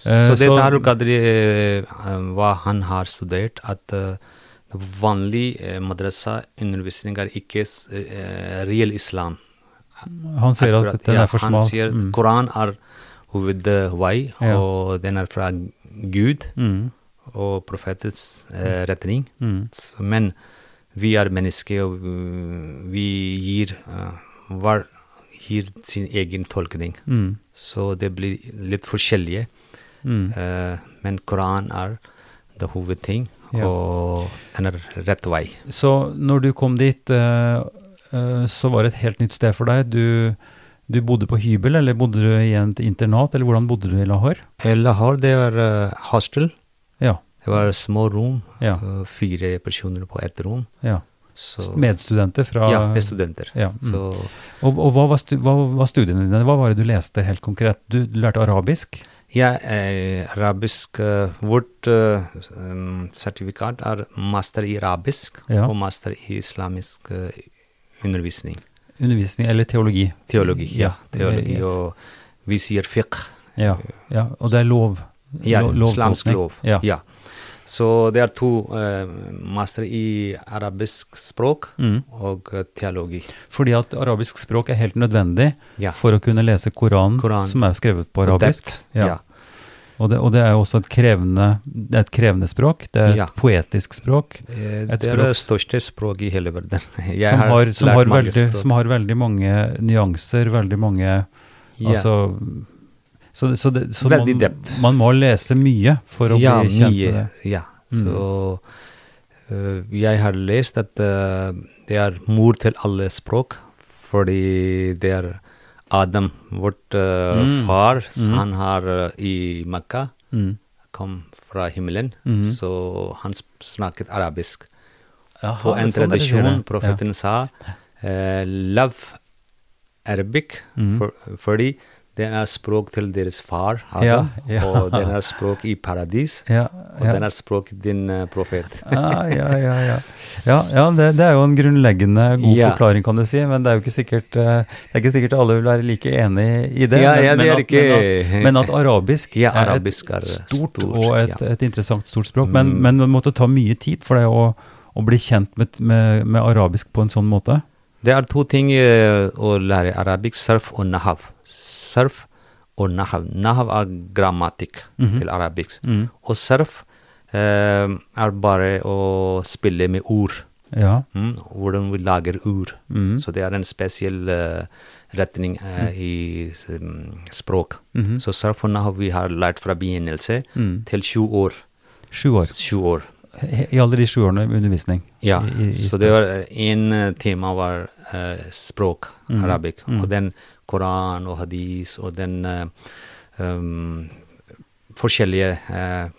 Eh,
Så det
så-
Darul Qadri, eh, hva han har studert, at eh, vanlig eh, madrasa-undervisning er ikke s- eh, reell islam.
Han sier at
Akkurat,
den
ja,
er for smal.
Han sier
Mm.
Koran er hovedvei,
Ja.
og den er fra Gud
Mm.
og profetets eh, retning.
Mm.
Så, men vi er mennesker, og mm, vi gir, eh, hver gir sin egen tolkning.
Mm.
Så det blir litt forskjellige.
Mm.
Eh, men Koran er det hovedting,
Ja.
og den er rett vei.
Så når du kom dit, eh, eh, så var det et helt nytt sted for deg. Du, du bodde på hybel, eller bodde du i et internat, eller hvordan bodde du i Lahore?
Eh, Lahore, det var eh, hostel.
Ja,
Det var små rom.
Ja.
eh, fire personer på ett rom.
ja.
Så,
Medstudenter fra
ja, med studenter.
Ja, mm.
Så
Og, og hva, var stu, hva var studiene dine? Hva var det du leste helt konkret? Du lærte arabisk?
ja, eh, arabisk eh, Vårt eh, um, sertifikat er master i arabisk
Ja.
og master i islamisk eh, undervisning.
Undervisning eller teologi?
Teologi, ja. Teologi,
Ja,
og vi sier fiqh.
ja, ja. Og det er lov?
Ja,
lo- lovtolkning.
islamsk lov.
Ja.
Ja. Så det er to eh, master i arabisk språk
Mm.
og eh, teologi.
Fordi at arabisk språk er helt nødvendig
Ja.
for å kunne lese Koranen,
Koran.
som er skrevet på
Og
arabisk.
teft,
Ja.
ja.
Og, det, og det er jo også et krevende, det er et krevende språk. Det er et
Ja.
poetisk språk
Eh,
Et
det er
språk-
det største språket i hele verden. Jeg
som, har, som,
lært
har
mange
veldig,
språk.
som har veldig mange nyanser, veldig mange
Ja.
altså, Så, det- så, det, så man,
Veldig dept.
man må lese mye for å
ja,
bli kjent med
mye,
det. Mm.
Ja. Så eh, jeg har lest at eh, det er mor til alle språk, fordi det er Adam, vårt eh, far, han har eh, i Mekka,
Mm. Mm-hmm.
kom fra himmelen, så han sp- snakket arabisk.
Jaha,
På en
sånn er det sier
tradisjon
det.
profeten sa eh, Love Arabic, for, fordi den er språk til deres far, Adam,
Mm-hmm. Ja, ja.
og den er språk i paradis,
Ja,
og
ja.
den er språk i din eh, profet.
Ah, ja, ja, ja. ja, ja det, det er jo en grunnleggende god
Ja.
forklaring, kan du si. Men det er jo ikke sikkert, eh, det er ikke sikkert alle vil være like enig i det.
Ja,
men-
ja, det
men,
er
at,
ikke-
men, at, men at arabisk,
Ja, arabisk
er
er
et stort,
stort,
og et,
ja. Mm.
et interessant stort språk. Men, men man måtte ta mye tid for deg å, å bli kjent med, med, med arabisk på en sånn måte.
Det er to ting eh, å lære arabisk, sarf og nahav. Sarf og nahav. Nahav er grammatikk
Mhm.
til arabisk. Og sarf eh, er bare å spille med ord.
Ja.
Mm, hvordan vi lager ord.
Mhm.
Så det er en spesiell eh, retning eh, i s- mm, språk.
Mhm.
Så sarf og nahav vi har lært fra begynnelse til sju år.
Sju år.
Sju år.
He- I alle de sju årene med undervisning.
Ja,
I, i, i,
så det var én tema var eh, språk,
Mm-hmm.
arabisk. Og den Koran og hadis og den eh, um, forskjellige eh,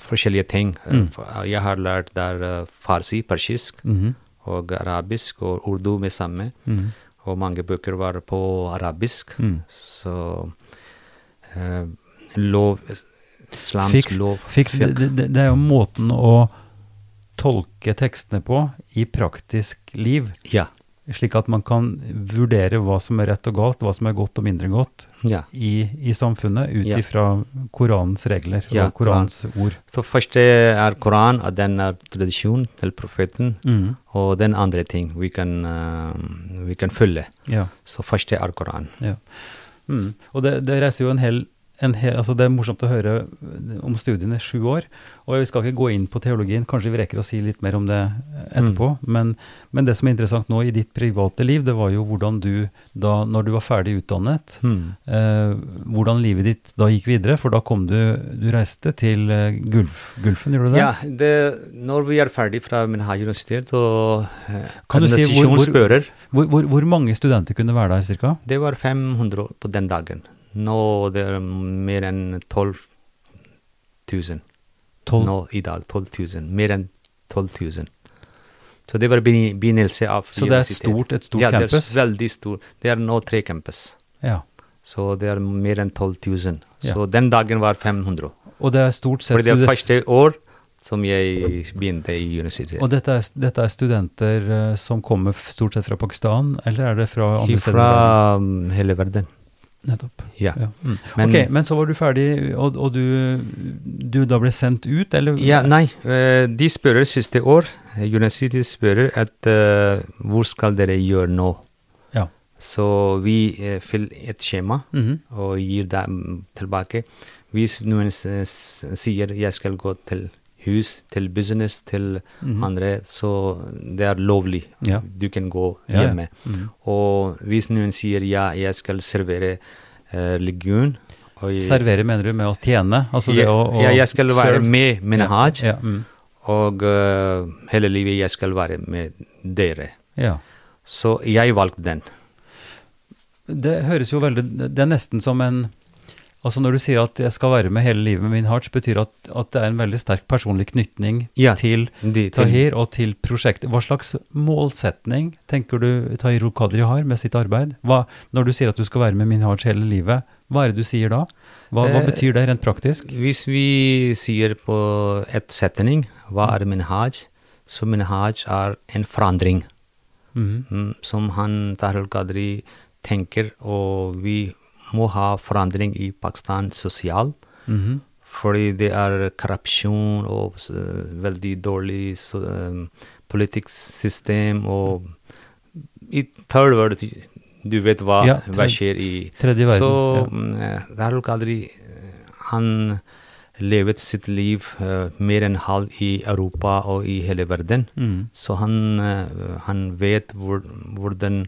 forskjellige ting.
Mm.
For- Jeg har lært der eh, farsi, persisk,
Mm-hmm.
og arabisk og urdu med samme. Og mange bøker var på arabisk.
Mm.
Så eh, lov Islamsk
fikk,
lov
fikk,
fiqh.
det, det, det er jo måten å tolke tekstene på i praktisk liv.
Ja.
slik at man kan vurdere hva som er rett og galt, hva som er godt og mindre godt
ja.
i, i samfunnet, ut
Ja.
ifra Koranens regler
Ja,
og Koranens ord.
Så første er Koran, og den er tradisjon til profeten.
Mhm.
Og den andre ting vi kan, eh, vi kan følge.
Ja,
Så første er Koran.
ja. Mm. Og det, det reiser jo en hel en hel, altså det er morsomt å høre eh, om studiene i sju år. Og vi skal ikke gå inn på teologien, kanskje vi rekker å si litt mer om det eh,
Mm.
etterpå. Men, men det som er interessant nå i ditt private liv, det var jo hvordan du da, når du var ferdig utdannet,
Mm.
eh, hvordan livet ditt da gikk videre. For da kom du, du reiste til eh, Gulf, Gulfen, gjorde du det?
Ja, det, når vi er ferdig fra Minhaj universitet, og eh,
Kan du si hvor- hvor-
administrasjonsfører
Hvor, hvor, hvor mange studenter kunne være der, cirka?
Det var 500 på den dagen. Nå det er mer enn 12 000.
Tolv-
Nå i dag 12 000. Mer enn 12 000. Så det var begyn- begynnelse av
Så det er et
universitet.
stort, et stort
ja,
campus?
det er veldig stort. Det er nå tre campus.
Ja.
Så det er mer enn 12 000.
Ja.
Så den dagen var 500.
Og det er stort sett
For det er
student-
første år som jeg begynte i universitet.
Og dette er, dette er studenter eh, som kommer f- stort sett fra Pakistan, eller er det fra andre steder? i verden?
Fra um, hele verden.
Nettopp.
Ja.
Ja. Mm.
Men-
ok, men så var du ferdig, og, og du, du da ble sendt ut, eller?
Ja, nei, eh, de spør siste år, eh, universitetet spør at eh, hvor skal dere gjøre nå?
Ja.
Så vi eh, fyller et skjema
Mhm.
og gir dem tilbake. Hvis noen s- s- sier jeg skal gå til hus, til business, til
Mhm.
andre, så det er lovlig.
Ja.
Du kan gå
Ja, ja.
hjemme.
Mhm.
Og hvis noen sier ja, jeg skal servere eh, legume og jeg-
Servere mener du med å tjene? Altså det
ja,
å, å
ja, jeg skal være
serve?
med min haj,
Ja, mm.
og eh, hele livet jeg skal være med dere.
ja.
Så jeg valgte den.
Det høres jo veldig Det er nesten som en Altså når du sier at jeg skal være med hele livet med min hearts, betyr at, at det er en veldig sterk personlig knytning
Ja,
til
de- til-
Tahir og til prosjektet. Hva slags målsetning tenker du Tahir Rukadri har med sitt arbeid? Hva, når du sier at du skal være med min hearts hele livet, hva er det du sier da? Hva, hva
Eh,
betyr det rent praktisk?
Hvis vi sier på et setning hva er min haj, så min haj er en forandring
Mhm.
mm, som han Tahril Qadri tenker, og vi må ha forandring i Pakistan sosial.
Mhm.
fordi det er korrupsjon og s- veldig dårlig so, um, politisk system og i third world du vet hva,
Ja,
hva
tredje-
skjer i
tredje verden, ja.
Så mm, Darul Qadri eh, han levet sitt liv eh, mer enn halv i Europa og i hele verden.
Mm.
Så han, eh, han vet hvor, hvordan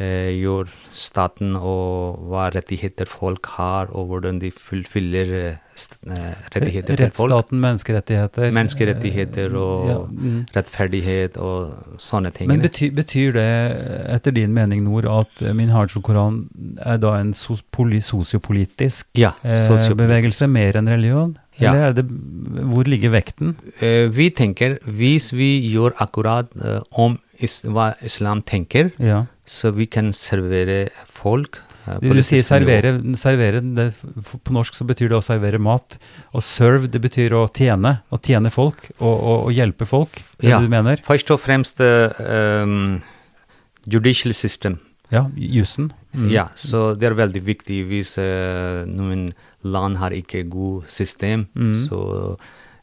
eh, gjør staten og hva rettigheter folk har, og hvordan de fullfyller eh, st- eh, rettigheter til folk.
Rettsstaten, menneskerettigheter
Menneskerettigheter og
ja, mm.
rettferdighet og sånne ting.
Men betyr, betyr det, etter din mening, Nord, at eh, min Hajj Koran er da en sos poli sosiopolitisk
Ja,
eh,
sosiopolitisk.
bevegelse mer enn religion?
Ja.
Eller er det, hvor ligger vekten?
Eh, vi tenker, hvis vi gjør akkurat eh, om is hva islam tenker,
Ja.
så vi kan servere folk eh,
Du, du
politisk
sier
nivå.
servere, servere det, f- på norsk så betyr det å servere mat. Og serve, det betyr å tjene. Å tjene folk, og, og, og hjelpe folk. Det er
Ja.
det du mener?
Først og fremst eh, um, judicial system.
Ja, jussen. Mm.
Ja, så det er veldig viktig hvis eh, noen land har ikke god system,
Mm.
så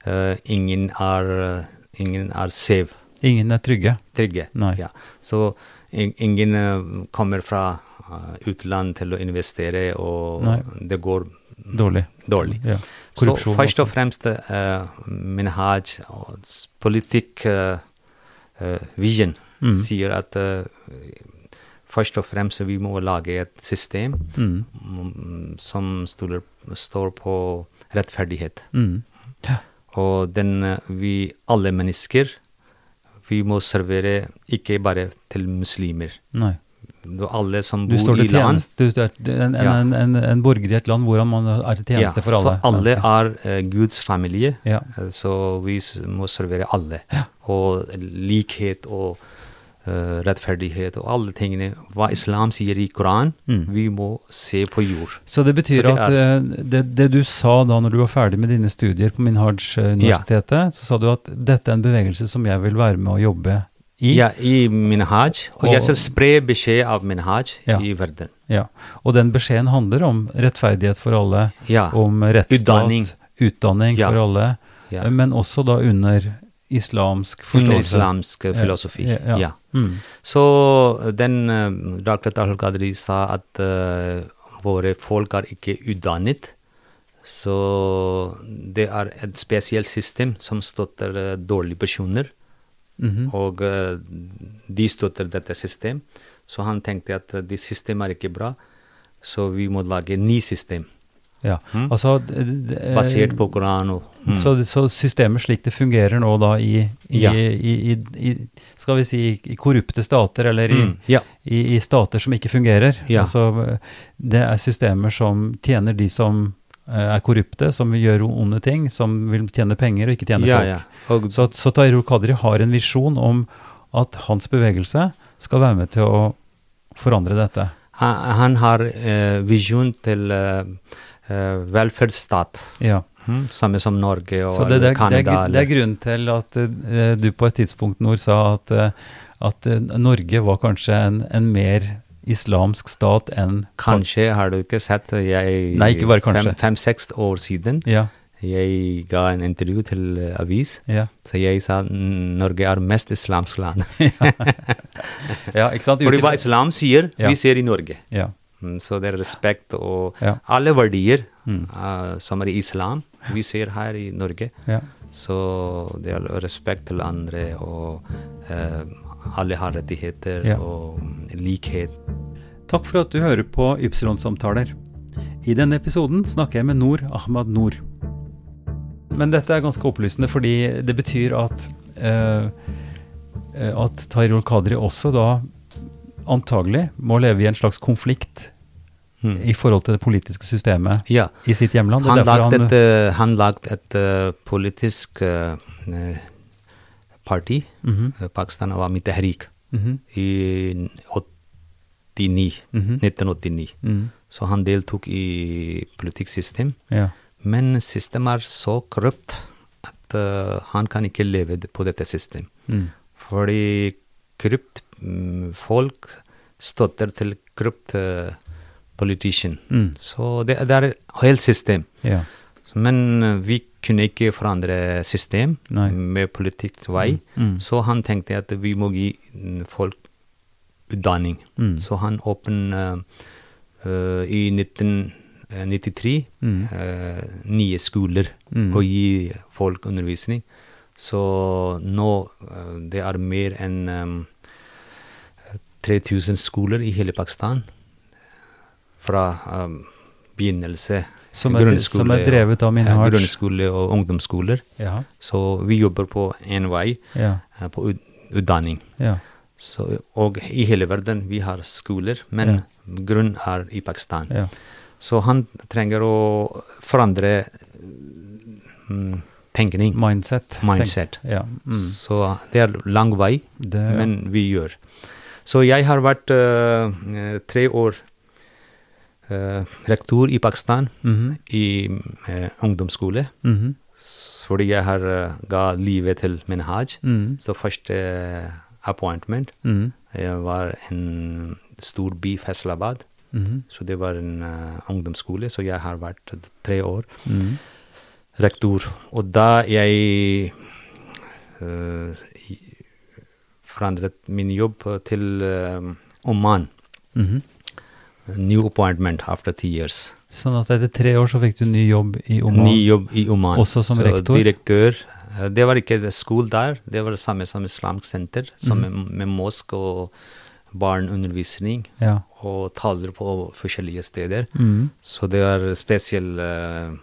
eh, ingen, er, uh, ingen er safe,
Ingen er trygge.
trygge.
Nei.
Ja. Så in- ingen eh, kommer fra eh, utland til å investere, og
Nei.
det går
Dårlig.
dårlig.
Ja.
Så
Korrupsjon altså.
først og
også.
fremst eh, minhaj og s- politikk eh, eh, vision
Mm.
sier at eh, først og fremst vi må lage et system
Mm.
mm, som stoler, står på rettferdighet.
Mm. Ja.
Og den eh, vi alle mennesker vi må servere ikke bare til muslimer.
Nei.
Du- Alle som
Du
bor
står
i
til
land.
tjeneste, du, er- du, er en,
Ja.
en, en, en borger i et land hvordan man er til tjeneste for alle.
Så alle er eh, Guds familie,
Ja.
Eh, så vi s- må servere alle. Og likhet og eh, rettferdighet og alle tingene. Hva islam sier i Koran,
Mm.
vi må se på jord.
Så det betyr
Så det
at eh, det, det du sa da når du var ferdig med dine studier på Minhaj-universitetet, så sa du at dette er en bevegelse som jeg vil være med å jobbe i.
Ja, i minhaj. Og,
Og-
jeg skal spre beskjed av minhaj
Ja.
i verden.
Ja. Og den beskjeden handler om rettferdighet for alle,
Ja.
om rettsstat,
Utdanning.
utdanning
Ja.
for alle,
Ja.
eh, men også da under islamsk forståelse.
Under islamsk eh, filosofi.
Mm. Ja, ja.
ja.
Mm.
Så den eh, dr. Tahul Qadri sa at eh, våre folk er ikke utdannet. Så det er et spesielt system som støtter eh, dårlige personer.
Mhm.
Og eh, de støtter dette system. Så han tenkte at eh, det systemet er ikke bra, så vi må lage ny system.
Ja,
Mm.
altså d- d- eh,
Basert på Koran og mm.
så, så systemet slik det fungerer nå da i, i,
Ja.
i, i, i Skal vi si i korrupte stater, eller i,
Mm, ja.
i, i stater som ikke fungerer.
Ja.
Altså, eh, det er systemer som tjener de som eh, er korrupte, som gjør onde ting, som vil tjene penger og ikke tjene
ja,
folk.
ja. Og,
Så, så Tahirul Kadri har en visjon om at hans bevegelse skal være med til å forandre dette.
han, han har eh, visjon til eh, eh, velferdsstat.
Ja.
Mm. Samme som Norge og
Så det, det, er- det,
Canada.
er, det er grunnen til at eh, du på et tidspunkt, Nord, sa at, eh, at eh, Norge var kanskje en, en mer islamsk stat enn
Kanskje har du ikke sett eh, jeg
Nei, ikke bare kanskje.
Fem-seks år siden
Ja,
jeg ga en intervju til eh, avis.
ja.
Så jeg sa "Mm, Norge er mest islamsk land.
ja, ikke sant?
Fordi hva
Utifra-
islam sier,
Ja.
vi ser i Norge.
Ja.
Mm, Så det er respekt og
Ja. Mm.
alle verdier eh, som er i islam, vi ser her i Norge.
Ja.
Så det er respekt til andre, og eh, alle har rettigheter
Ja.
og mm, likhet.
Takk for at du hører på Ypsilon-samtaler. I denne episoden snakker jeg med Noor Ahmad Noor. Men dette er ganske opplysende, fordi det betyr at eh, eh, at Tayrol Kadri også da antagelig må leve i en slags konflikt
Mm.
i forhold til det politiske systemet
Ja.
i sitt hjemland. Det er
Han
derfor
lagde
Hmm. han,
et, eh, han lagde et eh, politisk eh, eh, parti,
Mhm.
eh, Pakistan Awami Tehreek,
Mhm,
i 89,
Mhm.
1989.
mhm,
Så han deltok i politikksystem.
ja.
Men systemet er så korrupt at eh, han kan ikke leve d- på dette systemet.
Mm.
Fordi korrupt mm, folk støtter til korrupt uh, politician.
Mm.
Så det, det er et helt system.
ja.
Men eh, vi kunne ikke forandre system
Nei.
med politikks vei.
Mm, mm.
Så han tenkte at vi må gi mm, folk utdanning.
Mm.
Så han åpnet eh, eh, i 1993
Mm.
eh, nye skoler
Mm.
og gi folk undervisning. Så nå eh, det er mer enn eh, 3000 skoler i hele Pakistan fra eh, begynnelse.
Som er-
grunnskole
som er drevet av
og-
Minhaj.
ja, Grunnskole og ungdomsskoler.
Ja,
Så vi jobber på én vei,
ja,
eh, på ut- utdanning.
ja.
Så, og i hele verden vi har skoler, men
Ja.
grunn er i Pakistan.
Ja.
Så han trenger å forandre mm, tenkning.
Mindset. tenk-
Mindset.
Ja. Mm.
Så det er lang vei,
Det, ja.
men vi gjør. Så jeg har vært eh, eh, tre år eh, rektor i Pakistan,
Mhm,
i eh, ungdomsskole,
mhm,
s- fordi jeg har eh, ga livet til min haj.
mhm,
Så første eh, appointment
mhm,
eh, var en stor by, Faisalabad.
mhm,
Så det var en eh, ungdomsskole, så jeg har vært tre år
mhm.
rektor. Og da jeg eh, i- forandret min jobb til eh, Oman,
Mhm.
new appointment after three years.
Sånn at etter tre år så fikk du ny jobb i Oman?
Ny jobb i Oman.
Også som
Så
rektor?
Direktør. Eh, Det var ikke det skole der, det var det samme som islamsk senter, som
Mm.
med, med mosk og barneundervisning
Ja.
og taler på forskjellige steder.
Mhm.
Så det er spesiell eh,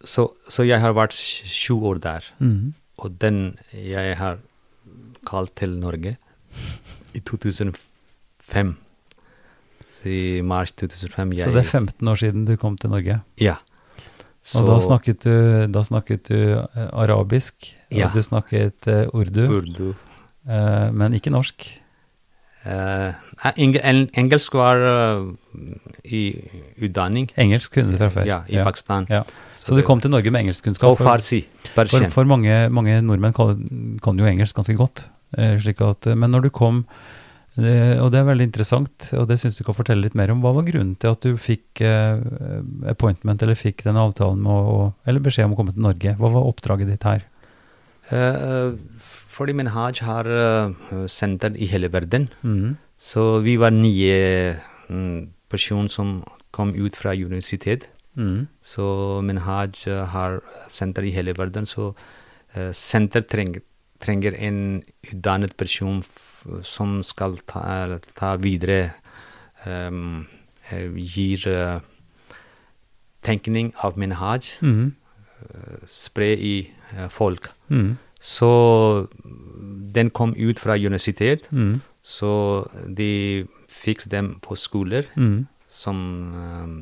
så, så jeg har vært sj- sju år der,
Mhm.
og den jeg har kalt til Norge i 2005. I mars 2005. Jeg,
Så det er 15 år siden du kom til Norge.
Ja.
Og da snakket du, da snakket du eh, arabisk,
Ja.
og du snakket eh, urdu,
urdu.
eh, men ikke norsk.
Eh, eng eng engelsk var eh, i utdanning.
Engelsk kunne du fra før.
Ja, i Pakistan.
Ja.
Så
Så du
det-
kom til Norge med engelskkunnskap.
Og farsi.
For,
Persian.
for mange, mange nordmenn kan, kan jo engelsk ganske godt. eh, Slik at, eh, men når du kom, eh, og det er veldig interessant, og det syns du kan fortelle litt mer om, hva var grunnen til at du fikk eh, appointment, eller fikk den avtalen med å, å- eller beskjed om å komme til Norge? Hva var oppdraget ditt her?
Eh, fordi min haj har eh, senter i hele verden. mm, Så vi var nye mm, personer som kom ut fra universitet.
Mm.
Så Minhaj eh, har senter i hele verden, så eh, senter trenger, trenger en utdannet person f som skal ta, ta videre em, eh, Gir eh, tenkning av Minhaj,
Mm.
spre i eh, folk.
Mm.
Så den kom ut fra universitet,
Mm.
så de fikk dem på skoler
Mm.
som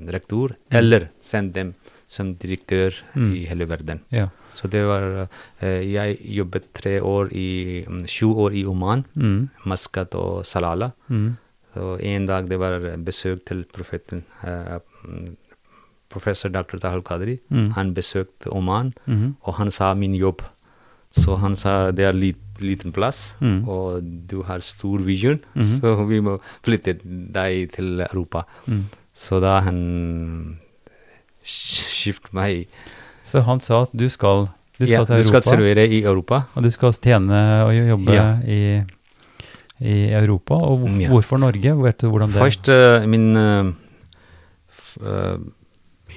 eh, rektor, eller sendt dem som direktør
Mm.
i hele verden.
Ja.
Så det var eh, Jeg jobbet tre år i mm, Sju år i Oman,
Mm.
Maskat og Salala.
Mm.
Så en dag det var eh, besøk til profeten. eh, mm, professor dr. Tahal Qadri.
Mm.
Han besøkte Oman,
Mhm.
og han sa min jobb. Så han sa det er lit, liten plass,
Mm.
og du har stor vision,
Mhm.
så vi må flytte deg til Europa.
Mm.
Så da han skiftet meg
Så han sa at du skal, du skal
Ja,
til
du skal
Europa,
servere i Europa.
og du skal tjene og jo- jobbe
Ja.
i, i Europa. Og hvor,
Mm, ja.
hvorfor Norge? Vet du hvordan det
Først eh, min eh, f- eh,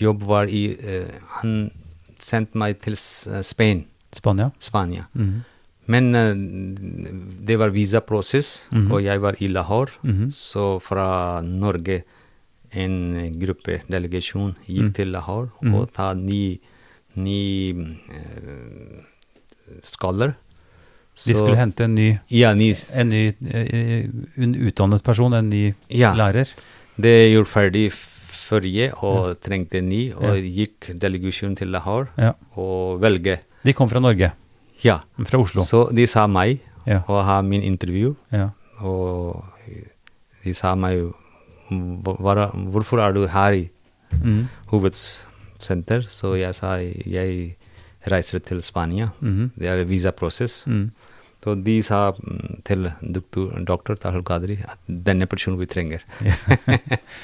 jobb var i eh, Han sendte meg til S- eh, Spain,
Spania?
Spania.
Mhm.
Men eh, det var visaprosess,
Mhm.
og jeg var i Lahore.
Mhm.
Så fra Norge en gruppe, delegasjon, gikk
Mm.
til Lahore
Mhm.
og ta ni, ni eh, scholar.
De
Så-
skulle hente en ny,
Ja, ni,
en ny eh, en utdannet person, en ny
Ja.
lærer.
Det gjorde ferdig f- forrige og trengte ny, og
Ja.
gikk delegasjon til Lahore
Ja.
og velge.
De kom fra Norge,
Ja.
fra Oslo.
Så de sa meg
Ja.
og ha min intervju,
Ja.
og de sa meg "Hva- hva- hvorfor er du her i Mm.
Mhm.
hovedsenter? Så jeg sa jeg reiser til Spania.
Mhm.
Det er visaprosess.
Mhm.
Så de sa mm, til doktor, doktor Tahal Qadri at denne personen vi trenger.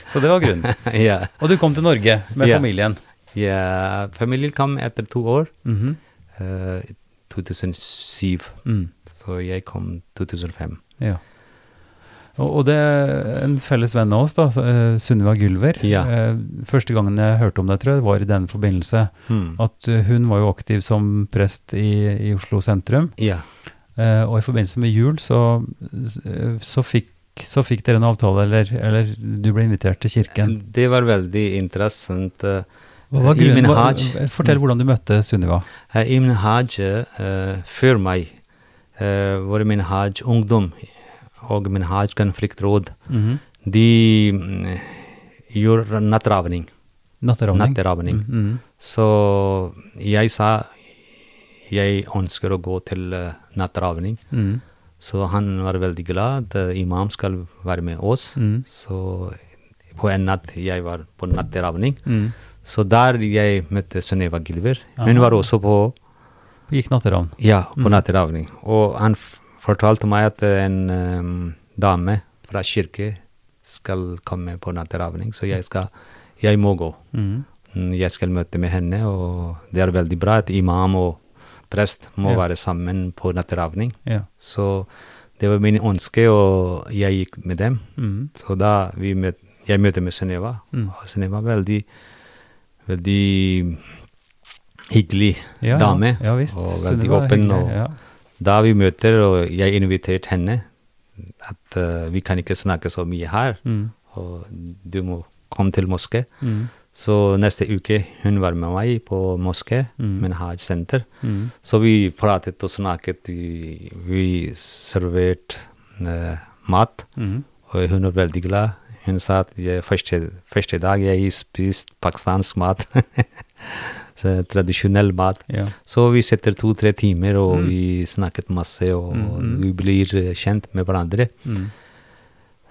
Så det var grunnen.
ja.
Og du kom til Norge med
Ja.
familien.
Ja, familien kom etter to år,
Mhm.
eh, 2007.
Mm.
Så jeg kom 2005.
Ja. Og, og det er en felles venn av oss, da, så, eh, Sunniva Gylver.
Ja.
Eh, Første gangen jeg hørte om det, tror jeg, var i den forbindelse. At eh, hun var jo aktiv som prest i, i Oslo sentrum.
Ja.
Eh, Og i forbindelse med jul så, eh, så, fikk, så fikk dere en avtale, eller, eller du ble invitert til kirken.
Det var veldig interessant. eh,
Hva var
i min
grunnen? Hva,
hajj.
fortell hvordan du møtte Sunniva.
Eh, I min hajj eh, før meg eh, var min hajj ungdom og min hajj konfliktråd.
Mhm.
De mm, gjorde nattravning.
Natteravning.
Natteravning.
Mm,
Så jeg sa jeg ønsker å gå til eh, nattravning.
mm, mm,
Så han var veldig glad. at, eh, Imam skal være med oss.
Mm.
Så på en natt jeg var på natteravning.
mm.
Så der jeg møtte Sunniva Gilver. Hun
Ah. Mm.
var også på,
Gikk natteravn.
ja, på natteravning. Og han f fortalte meg at eh, en em, dame fra kirke skal komme på natteravning, så jeg, skal, jeg må gå.
Mm.
Mm, Jeg skal møte med henne, og det er veldig bra at imam og prest må
Ja.
være sammen på natteravning.
Ja.
Så det var min ønske, og jeg gikk med dem.
Mm.
Så da vi møt, jeg møtte med Sunniva,
Mm.
og Sunniva var veldig, veldig hyggelig
Ja,
dame.
Ja, ja visst.
Og veldig
Sunniva er
åpen.
hyggelig,
Og
ja.
Da vi møter, og jeg inviterte henne, at eh, vi kan ikke snakke så mye her,
Mm.
og du må komme til moské.
Mm.
Så neste uke hun var med meg på moské,
Mm.
men har et senter.
Mm.
Så vi pratet og snakket, vi, vi serverte eh, mat,
Mm.
og hun var veldig glad. Hun sa at jeg, første, første dag jeg spiste pakistansk mat, så tradisjonell mat.
Ja.
Så vi sitter to-tre timer, og
Mm.
vi snakket masse, og
Mm, mm.
vi blir eh, kjent med hverandre.
Mm.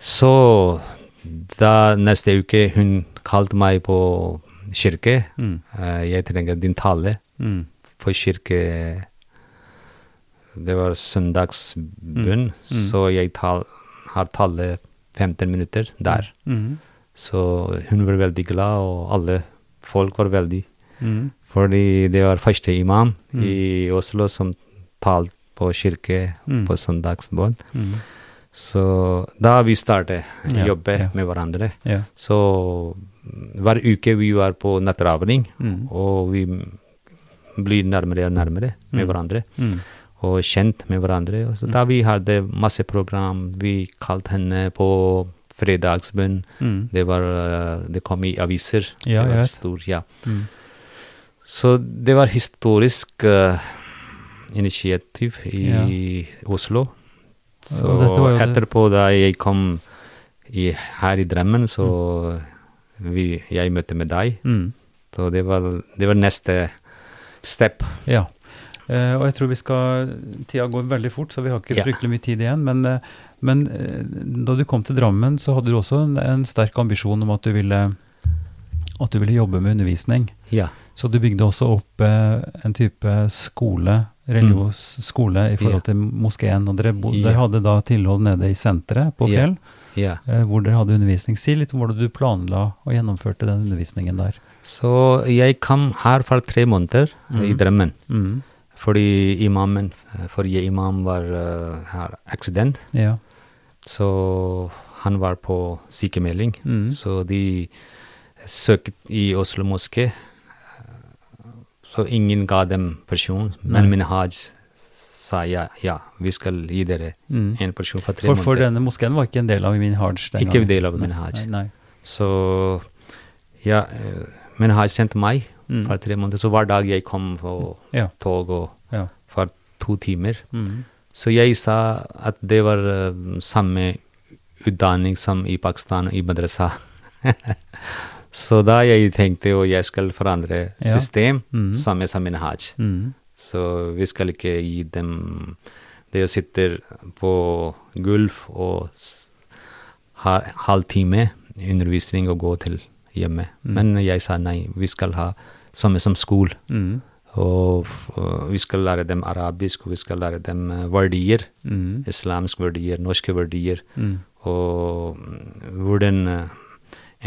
Så da neste uke hun kalte meg på kirke.
Mm.
Eh, jeg trenger din tale
Mm.
på kirke. Det var
Mm.
søndagsbønn, så jeg tal, har tale 15 minutter der.
Mm.
Så hun var veldig glad, og alle folk var veldig
Mm.
Fordi det var første imam i Oslo som talte på kirke
Mm.
på søndagsbønn.
Mm.
Så da vi startet å
Ja,
jobbe
ja.
med hverandre.
Ja.
Så mm, hver uke vi var på nattravning,
Mm.
og vi blir nærmere og nærmere med
Mm.
hverandre.
Mm.
Og kjent med hverandre. Og Så da vi hadde masse program, vi kalte henne på fredagsbønn.
Mm.
Det, var, eh, det kom i aviser.
Ja, jeg
det var
vet.
stor, ja.
Mm.
Så det var historisk eh, initiativ i Oslo. Så
Og dette var jo det-
etterpå, da jeg kom i, her i Drammen, så vi, jeg møtte med deg.
Mm.
Så det var, det var neste step.
Ja. Eh, og jeg tror vi skal Tida går veldig fort, så vi har ikke
Ja.
fryktelig mye tid igjen. Men, eh, men eh, da du kom til Drammen, så hadde du også en, en sterk ambisjon om at du ville at du ville jobbe med undervisning.
Ja.
Så du bygde også opp eh, en type skole, religionsskole, i forhold
Mm. Ja.
til moskeen. Og dere, bo,
Ja.
dere hadde da tilhold nede i senteret på
Ja.
Fjell,
ja.
eh, hvor dere hadde undervisning. Si litt om hvordan du planla og gjennomførte den undervisningen der.
Så jeg kom her for tre måneder i Drammen.
Mm.
Fordi imamen, eh, forrige imam var eh, her aksident.
Ja.
Så han var på sykemelding.
Mm.
Så de søkte i Oslo moské. Så ingen ga dem person. Men
Nei.
Minhaj sa ja, ja, vi skal gi dere
Mm.
en person for tre
For, for
måneder.
denne moskeen var ikke en del av min hajj den
Ikke
gangen.
del av
Nei,
Minhaj.
Nei, nei.
Så ja, eh, Minhaj sendte meg
Mm.
for tre måneder. Så hver dag jeg kom på
Ja.
tog og
Ja.
for to timer.
Mm.
Så jeg sa at det var eh, samme utdanning som i Pakistan i madrasa. så da jeg tenkte at jeg skal forandre
Ja.
system,
Mhm.
samme som Minhaj.
Mm.
Så vi skal ikke gi dem De sitter på gulv og s- har halv time undervisning og gå til hjemme. Men jeg sa nei, vi skal ha samme som skole.
Mm.
Og f- øh, vi skal lære dem arabisk, og vi skal lære dem eh, verdier.
Mm.
Islamske verdier, norske verdier.
Mm.
Og mm, hvordan eh,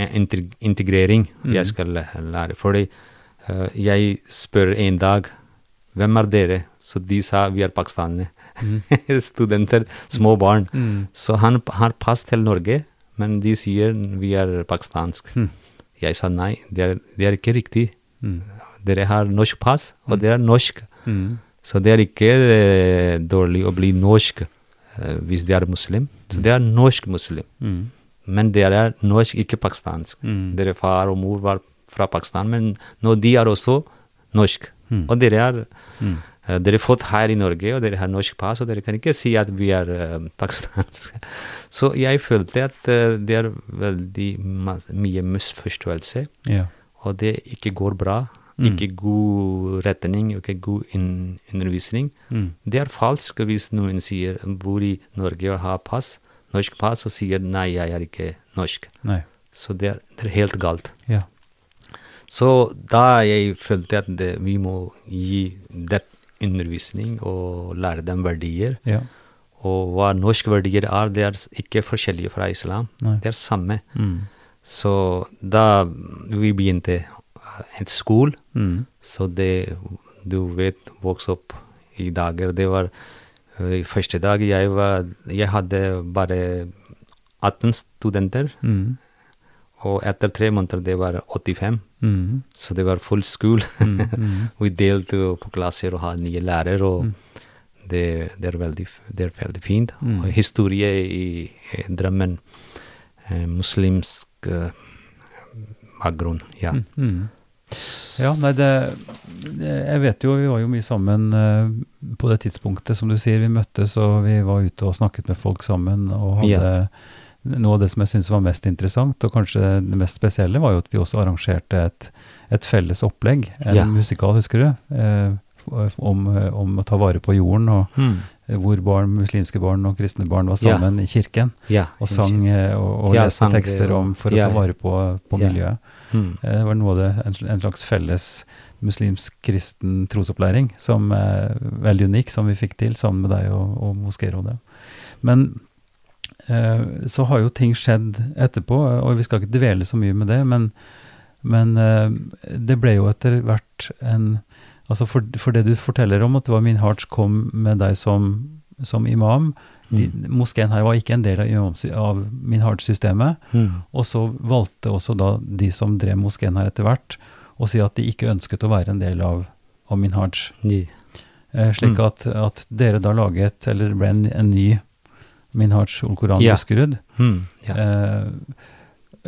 en- integ- integrering jeg skal læ- lære. Fordi eh, jeg spør en dag hvem er dere? Så de sa vi er pakistanere. Studenter, små barn. Så han p- har pass til Norge, men de sier vi er pakistansk. Jeg sa nei, det er, det er ikke riktig. Dere har norsk pass, og dere er norsk.
Mm.
Så det er ikke eh, dårlig å bli norsk eh, hvis de er muslim. Så det er norsk muslim.
Mm.
Men dere er norsk, ikke pakistansk.
Mm.
Dere far og mor var fra Pakistan, men nå de er også norsk.
Mm.
Og dere er eh, dere er fått her i Norge, og dere har norsk pass, og dere kan ikke si at vi er eh, pakistanske. Så jeg følte at eh, det er veldig mas- mye misforståelse
Ja.
og det ikke går bra,
Mm.
ikke god retning, ikke god inn- undervisning.
Mm.
Det er falsk hvis noen sier bor i Norge og har pass, norsk pass, og sier nei, jeg er ikke norsk.
Nei.
Så det er, det er helt galt.
Ja.
Så da jeg følte at det, vi må gi dem undervisning og lære dem verdier.
Ja.
Og hva norske verdier er, det er ikke forskjellige fra islam.
Nei.
Det er samme.
Mm.
Så da vi begynte eh, en skole,
Mm.
så det du vet vokste opp i dager. Det var eh, første dag jeg var Jeg hadde bare 18 studenter,
Mm.
og etter tre måneder det var 85.
Mm.
Så det var full skole.
mm.
Vi delte på klasser og hadde nye lærere. og det, det, er veldig, det er veldig fint.
Mm.
Og historie i eh, Drammen eh, Muslimsk eh, bakgrunn, ja.
Mm. Ja, nei, det Jeg vet jo, vi var jo mye sammen eh, på det tidspunktet, som du sier. Vi møttes, og vi var ute og snakket med folk sammen, og hadde
Ja.
Noe av det som jeg syntes var mest interessant, og kanskje det mest spesielle, var jo at vi også arrangerte et, et felles opplegg, en
Ja.
musikal, husker du? Eh, om, om å ta vare på jorden, og
Mm.
eh, hvor barn, muslimske barn og kristne barn var
Ja.
sammen i kirken.
ja.
Og sang eh, og, og
Ja,
leste
sang det,
tekster om for å
ja,
ta vare på, på
ja.
miljøet.
Mm.
Eh, Det var noe av det, en, sl- en slags felles muslimsk-kristen trosopplæring, som er veldig unik, som vi fikk til sammen med deg og, og Moskérådet. Men eh, så har jo ting skjedd etterpå, eh, og vi skal ikke dvele så mye med det, men, men eh, det ble jo etter hvert en Altså for, for det du forteller om, at det var min hearts kom med deg som, som imam, De, moskeen her var ikke en del av, imams- av minhard-systemet.
Mm.
Og så valgte også da de som drev moskeen her etter hvert, å si at de ikke ønsket å være en del av, av minhaj.
Ji.
Eh, slik
Mm.
at, at dere da laget, eller ble en, en ny minhaj ol-Koran
Ja.
Buskerud.
Mm. Ja.
Eh,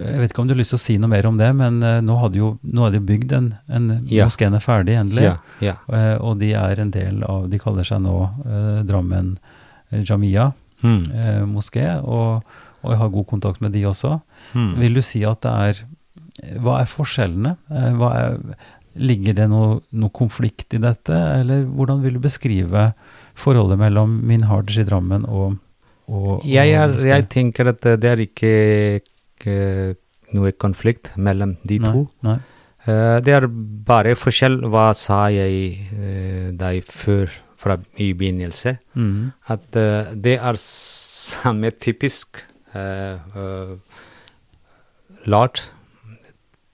jeg vet ikke om du har lyst til å si noe mer om det, men eh, nå, hadde jo, nå er det jo bygd en, en
Ja.
moskeen er ferdig, endelig.
ja. ja.
Eh, og de er en del av De kaller seg nå eh, Drammen Jamia
Mm.
eh, moské, og, og jeg har god kontakt med de også.
Mm.
Vil du si at det er Hva er forskjellene? Eh, Hva er, ligger det noe, noe konflikt i dette, eller hvordan vil du beskrive forholdet mellom min harders i Drammen og, og,
Jeg, er,
og moské?
jeg tenker at eh, det er ikke eh, noe konflikt mellom de
nei,
to.
Nei.
Eh, det er bare forskjell hva sa jeg eh, deg før fra i begynnelse.
Mhm.
At eh, det er samme typisk eh, eh, lært.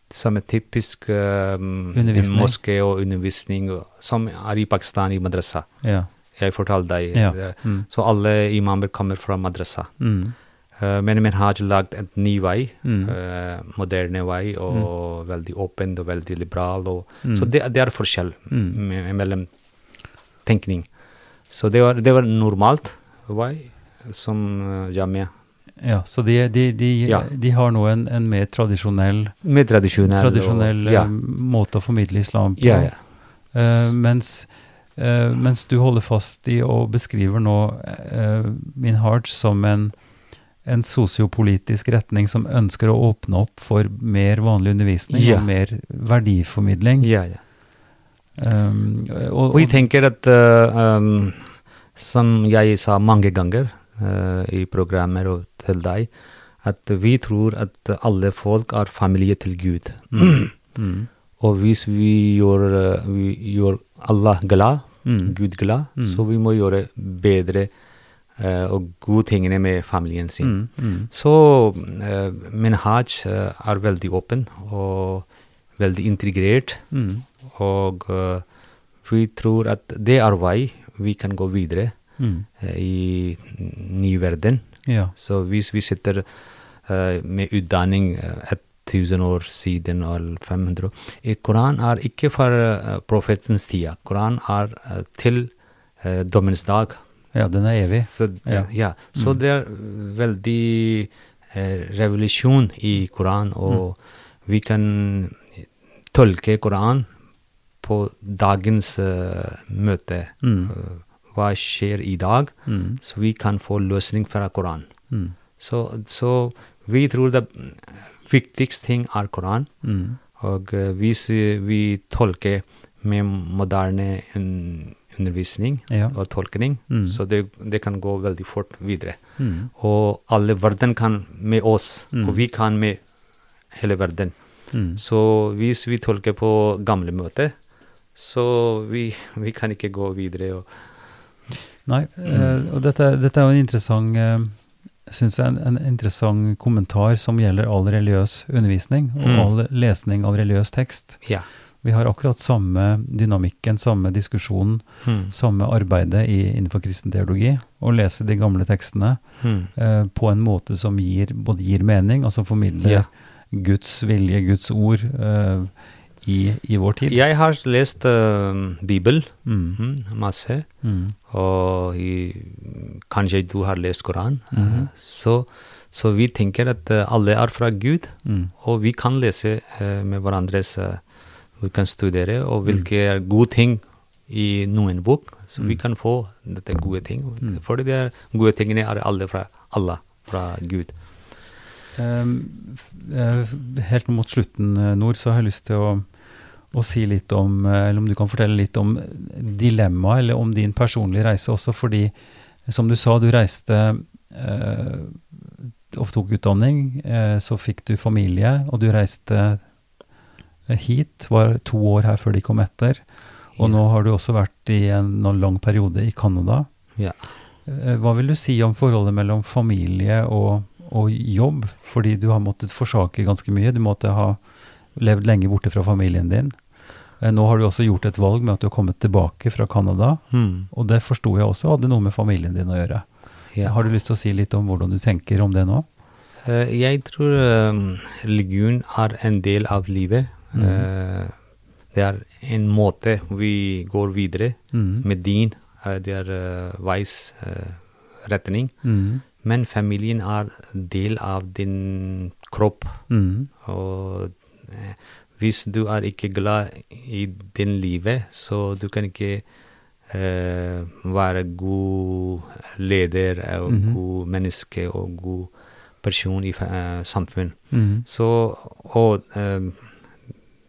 Samme typisk eh,
Undervisning.
moské og undervisning og- som er i Pakistan, i madrasa.
Ja.
Jeg fortalte deg.
Ja.
eh,
Mm.
Så alle imamer kommer fra madrasa.
Mm.
Eh, Men min har lagd en ny vei,
Mm.
eh, moderne vei, og veldig åpen og veldig liberal. Og,
Mm.
Så det, det er forskjell
Mm.
me- mellom tenkning. Så det var, det var normalt vei som eh, jamia.
ja. Så de, de, de,
Ja.
de har nå en, en mer tradisjonell,
Med tradisjonell, og-
tradisjonell eh,
ja.
måte å formidle islam på.
Ja, ja.
Eh, mens, eh, mens du holder fast i og beskriver nå eh, min heart som en, en sosiopolitisk retning som ønsker å åpne opp for mer vanlig undervisning
Ja.
og mer verdiformidling.
ja, ja.
Um, og,
Vi
og,
tenker at eh, um, som jeg sa mange ganger eh, i programmer og til deg, at vi tror at alle folk er familie til Gud.
mm,
Og hvis vi gjør, eh, vi gjør Allah glad,
Mm.
Gud glad, så vi må gjøre uh, bedre eh, og gode tingene med familien sin.
mm, mm,
Så eh, min hajj eh, er veldig åpen og veldig integrert.
mm,
Og eh, vi tror at det er vei vi kan gå videre
mm,
eh, i ny verden.
ja.
Så hvis vi sitter eh, med utdanning eh, 1000 år siden eller 500 år eh, Koran er ikke for eh, profetens tida. Koran er eh, til uh, dommens dag.
ja, den er evig.
Så,
Ja. Mm.
ja. så det er veldig eh, revolusjon i Koran,
Mm.
og vi kan tolke Koran på dagens eh, møte.
Mm.
Eh, hva skjer i dag?
Mm,
Så vi kan få løsning fra Koran.
mm,
Så, så vi tror det viktigste ting er Koran.
mm,
Og eh, hvis eh, vi tolker med moderne un undervisning
Ja.
og tolkning,
Mm.
så det, det kan gå veldig fort videre.
mm,
Og alle verden kan med oss,
Mm.
og vi kan med hele verden.
mm.
Så hvis vi tolker på gamle møter, så vi, vi kan ikke gå videre. Og,
Nei, eh, og dette, dette er jo en interessant eh, synes jeg, en, en interessant kommentar som gjelder all religiøs undervisning og
Mm.
all lesning av religiøs tekst.
ja.
Vi har akkurat samme dynamikken, samme diskusjonen,
Mm.
samme arbeidet i, innenfor kristen teologi, å lese de gamle tekstene
Mm.
eh, på en måte som gir, både gir mening, og som formidler
Ja.
Guds vilje, Guds ord, eh, i, i vår tid.
Jeg har lest eh, Bibelen
Mm.
mm, masse.
Mm.
og i, kanskje du har lest Koran.
Mhm.
så, så vi tenker at eh, alle er fra Gud,
Mm.
og vi kan lese eh, med hverandres eh, Vi kan studere, og hvilke er gode ting i noen bok. Så vi kan få dette gode ting. Fordi de er- gode tingene er alle fra Allah, fra Gud.
Ehm, f- eh, Helt mot slutten, eh, Nord, så har jeg lyst til å, å si litt om eh, Eller om du kan fortelle litt om dilemmaet, eller om din personlige reise også, fordi eh, som du sa, du reiste eh, og tok utdanning, eh, så fikk du familie, og du reiste eh, hit, var to år her før de kom etter. Og
Ja.
nå har du også vært i en noen lang periode i Canada.
Ja.
Eh, Hva vil du si om forholdet mellom familie og, og jobb? Fordi du har måttet forsake ganske mye. Du måtte ha levd lenge borte fra familien din. Eh, Nå har du også gjort et valg med at du har kommet tilbake fra Canada.
Mm.
Og det forsto jeg også hadde noe med familien din å gjøre.
Ja.
Har du lyst til å si litt om hvordan du tenker om det nå?
Eh, jeg tror um, religion er en del av livet. Eh, det er en måte vi går videre
Mhm.
med din. eh, det er uh, veis eh, retning.
Mm.
Men familien er del av din kropp.
Mm.
Og eh, hvis du er ikke glad i din livet, så du kan ikke eh, være god leder og
Mhm.
god menneske og god person i fa- eh, samfunn.
Mm.
Så og, eh,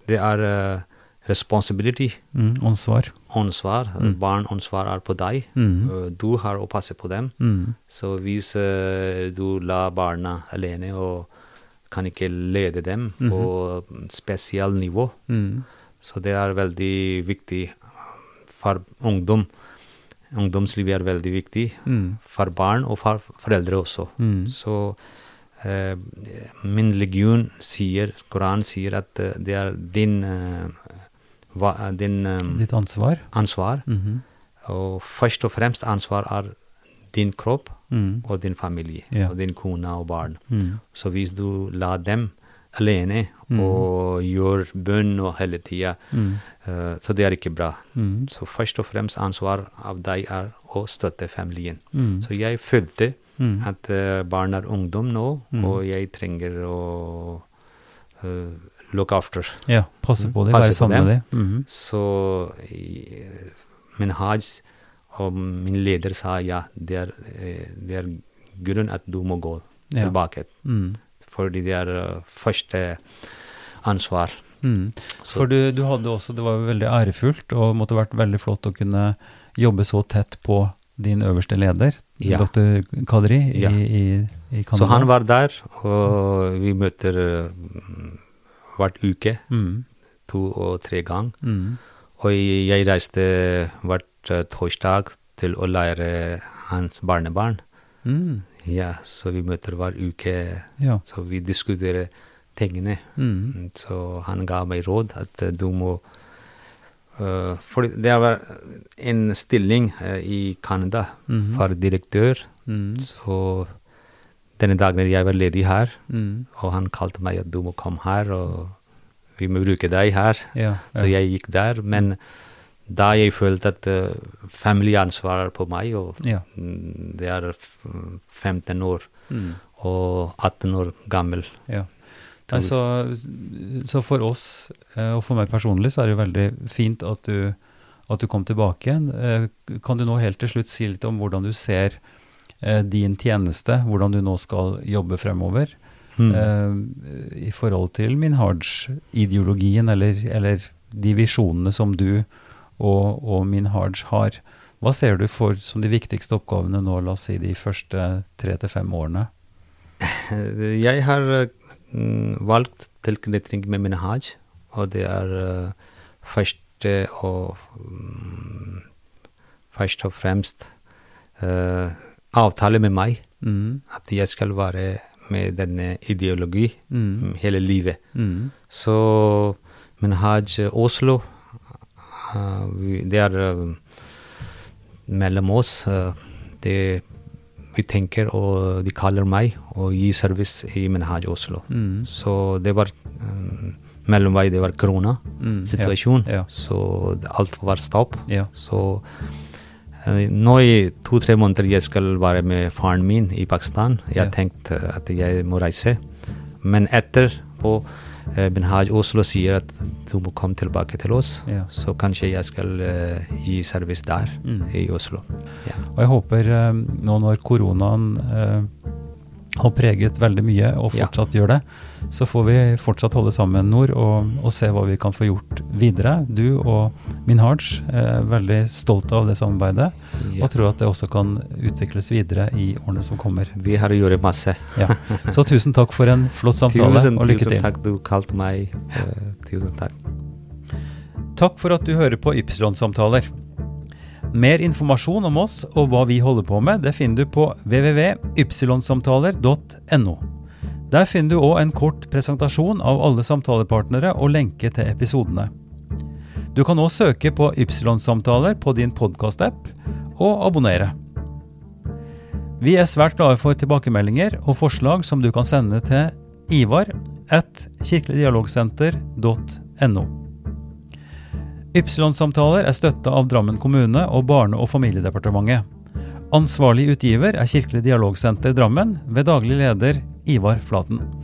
det er eh, responsibility,
Mm. Ansvar.
ansvar.
Mm.
Barnansvar er på deg.
Mm.
Eh, Du har å passe på dem.
Mm.
Så hvis eh, du lar barna alene og kan ikke lede dem på spesielt nivå,
Mm-hmm. Mm.
så det er veldig viktig eh, for ungdom. Ungdomslivet er veldig viktig
Mm.
for barn og for foreldre også.
Mm.
Så eh, min legion sier, Koran sier at eh, det er din, eh, hva, din eh,
Ditt ansvar.
ansvar.
Mhm.
Og først og fremst ansvar er din kropp
Mm.
og din familie
Ja.
og din kone og barn.
Mm.
Så hvis du lar dem alene og gjør bønn og hele tida,
Mm.
eh, så det er ikke bra.
Mm.
Så først og fremst ansvar av deg er å støtte familien.
Mm.
Så jeg følte
Mm.
at eh, barn er ungdom nå,
Mm.
og jeg trenger å eh, look after.
Ja, passe på dem,
Mm.
være
Passe på Mm.
sammen
dem.
med dem. Mhm.
Så eh, min haj og min leder sa ja, det er, eh, det er grunn at du må gå
Ja.
tilbake.
Mm.
Fordi det er eh, første ansvar.
Mm.
Så-
For du, du hadde også, det var jo veldig ærefullt, og måtte vært veldig flott å kunne jobbe så tett på din øverste leder,
Ja.
dr. Kadri, i,
Ja.
i, i Canada.
Så han var der, og vi møter eh, mm, hvert uke,
mm.
to og tre ganger.
Mm.
Og jeg reiste hvert eh, torsdag til å lære hans barnebarn.
Mm.
Ja, så vi møter hver uke,
Ja.
så vi diskuterer tingene.
Mm.
Så han ga meg råd at eh, du må eh, For det var en stilling eh, i Canada
Mhm.
for direktør.
Mm.
Så denne dagen jeg var ledig her,
Mm.
og han kalte meg at du må komme her, og vi må bruke deg her.
Ja,
Så
ja.
jeg gikk der, men da jeg følte at eh, familieansvaret er på meg, og
Ja.
mm, det er f- 15 år
Mm.
og 18 år gammel.
Ja. Nei, så, så for oss, eh, og for meg personlig, så er det jo veldig fint at du, at du kom tilbake igjen. Eh, Kan du nå helt til slutt si litt om hvordan du ser eh, din tjeneste, hvordan du nå skal jobbe fremover,
Mm.
eh, i forhold til Minhaj-ideologien, eller, eller de visjonene som du og, og Minhaj har? Hva ser du for som de viktigste oppgavene nå, la oss si de første tre til fem årene?
Eh, Jeg har eh, mm, valgt tilknytning med min haj, og det er eh, første og mm, først og fremst eh, avtale med meg
Mm,
at jeg skal være med denne ideologi
mm,
mm, hele livet.
mm,
Så min haj eh, Oslo, eh, vi- det er eh, mellom oss. eh, det vi tenker, og de kaller meg og gir service i min haj Oslo.
mm.
Så det var um, mellomvei, det var
Mm,
koronasituasjon.
ja, ja.
Så det- alt var stopp.
Ja.
Så eh, nå i to-tre måneder jeg skal være med faren min i Pakistan. Jeg
Ja.
tenkte at jeg må reise. Men etterpå eh, Minhaj Oslo sier at du må komme tilbake til oss.
Ja.
Så kanskje jeg skal eh, gi service der
Mm.
i Oslo. Ja.
Og jeg håper eh, nå når koronaen eh, har preget veldig mye, og
Ja.
fortsatt gjør det, så får vi fortsatt holde sammen, Nord, og, og se hva vi kan få gjort videre. Du og min Hards er veldig stolte av det samarbeidet,
Ja.
og tror at det også kan utvikles videre i årene som kommer.
Vi har gjort masse.
Ja. Så tusen takk for en flott samtale,
tusen,
og lykke
tusen
til.
takk du kalte meg. eh, tusen takk.
Takk for at du hører på Ypsilon-samtaler. Mer informasjon om oss og hva vi holder på med, det finner du på www.ypsilonsamtaler.no. Der finner du òg en kort presentasjon av alle samtalepartnere og lenke til episodene. Du kan òg søke på Ypsilon-samtaler på din podkast-app, og abonnere. Vi er svært glade for tilbakemeldinger og forslag som du kan sende til ivar at kirkeligdialogsenter.no. Ypsilon-samtaler er støtta av Drammen kommune og Barne- og familiedepartementet. Ansvarlig utgiver er Kirkelig dialogsenter Drammen ved daglig leder Ivar Flaten.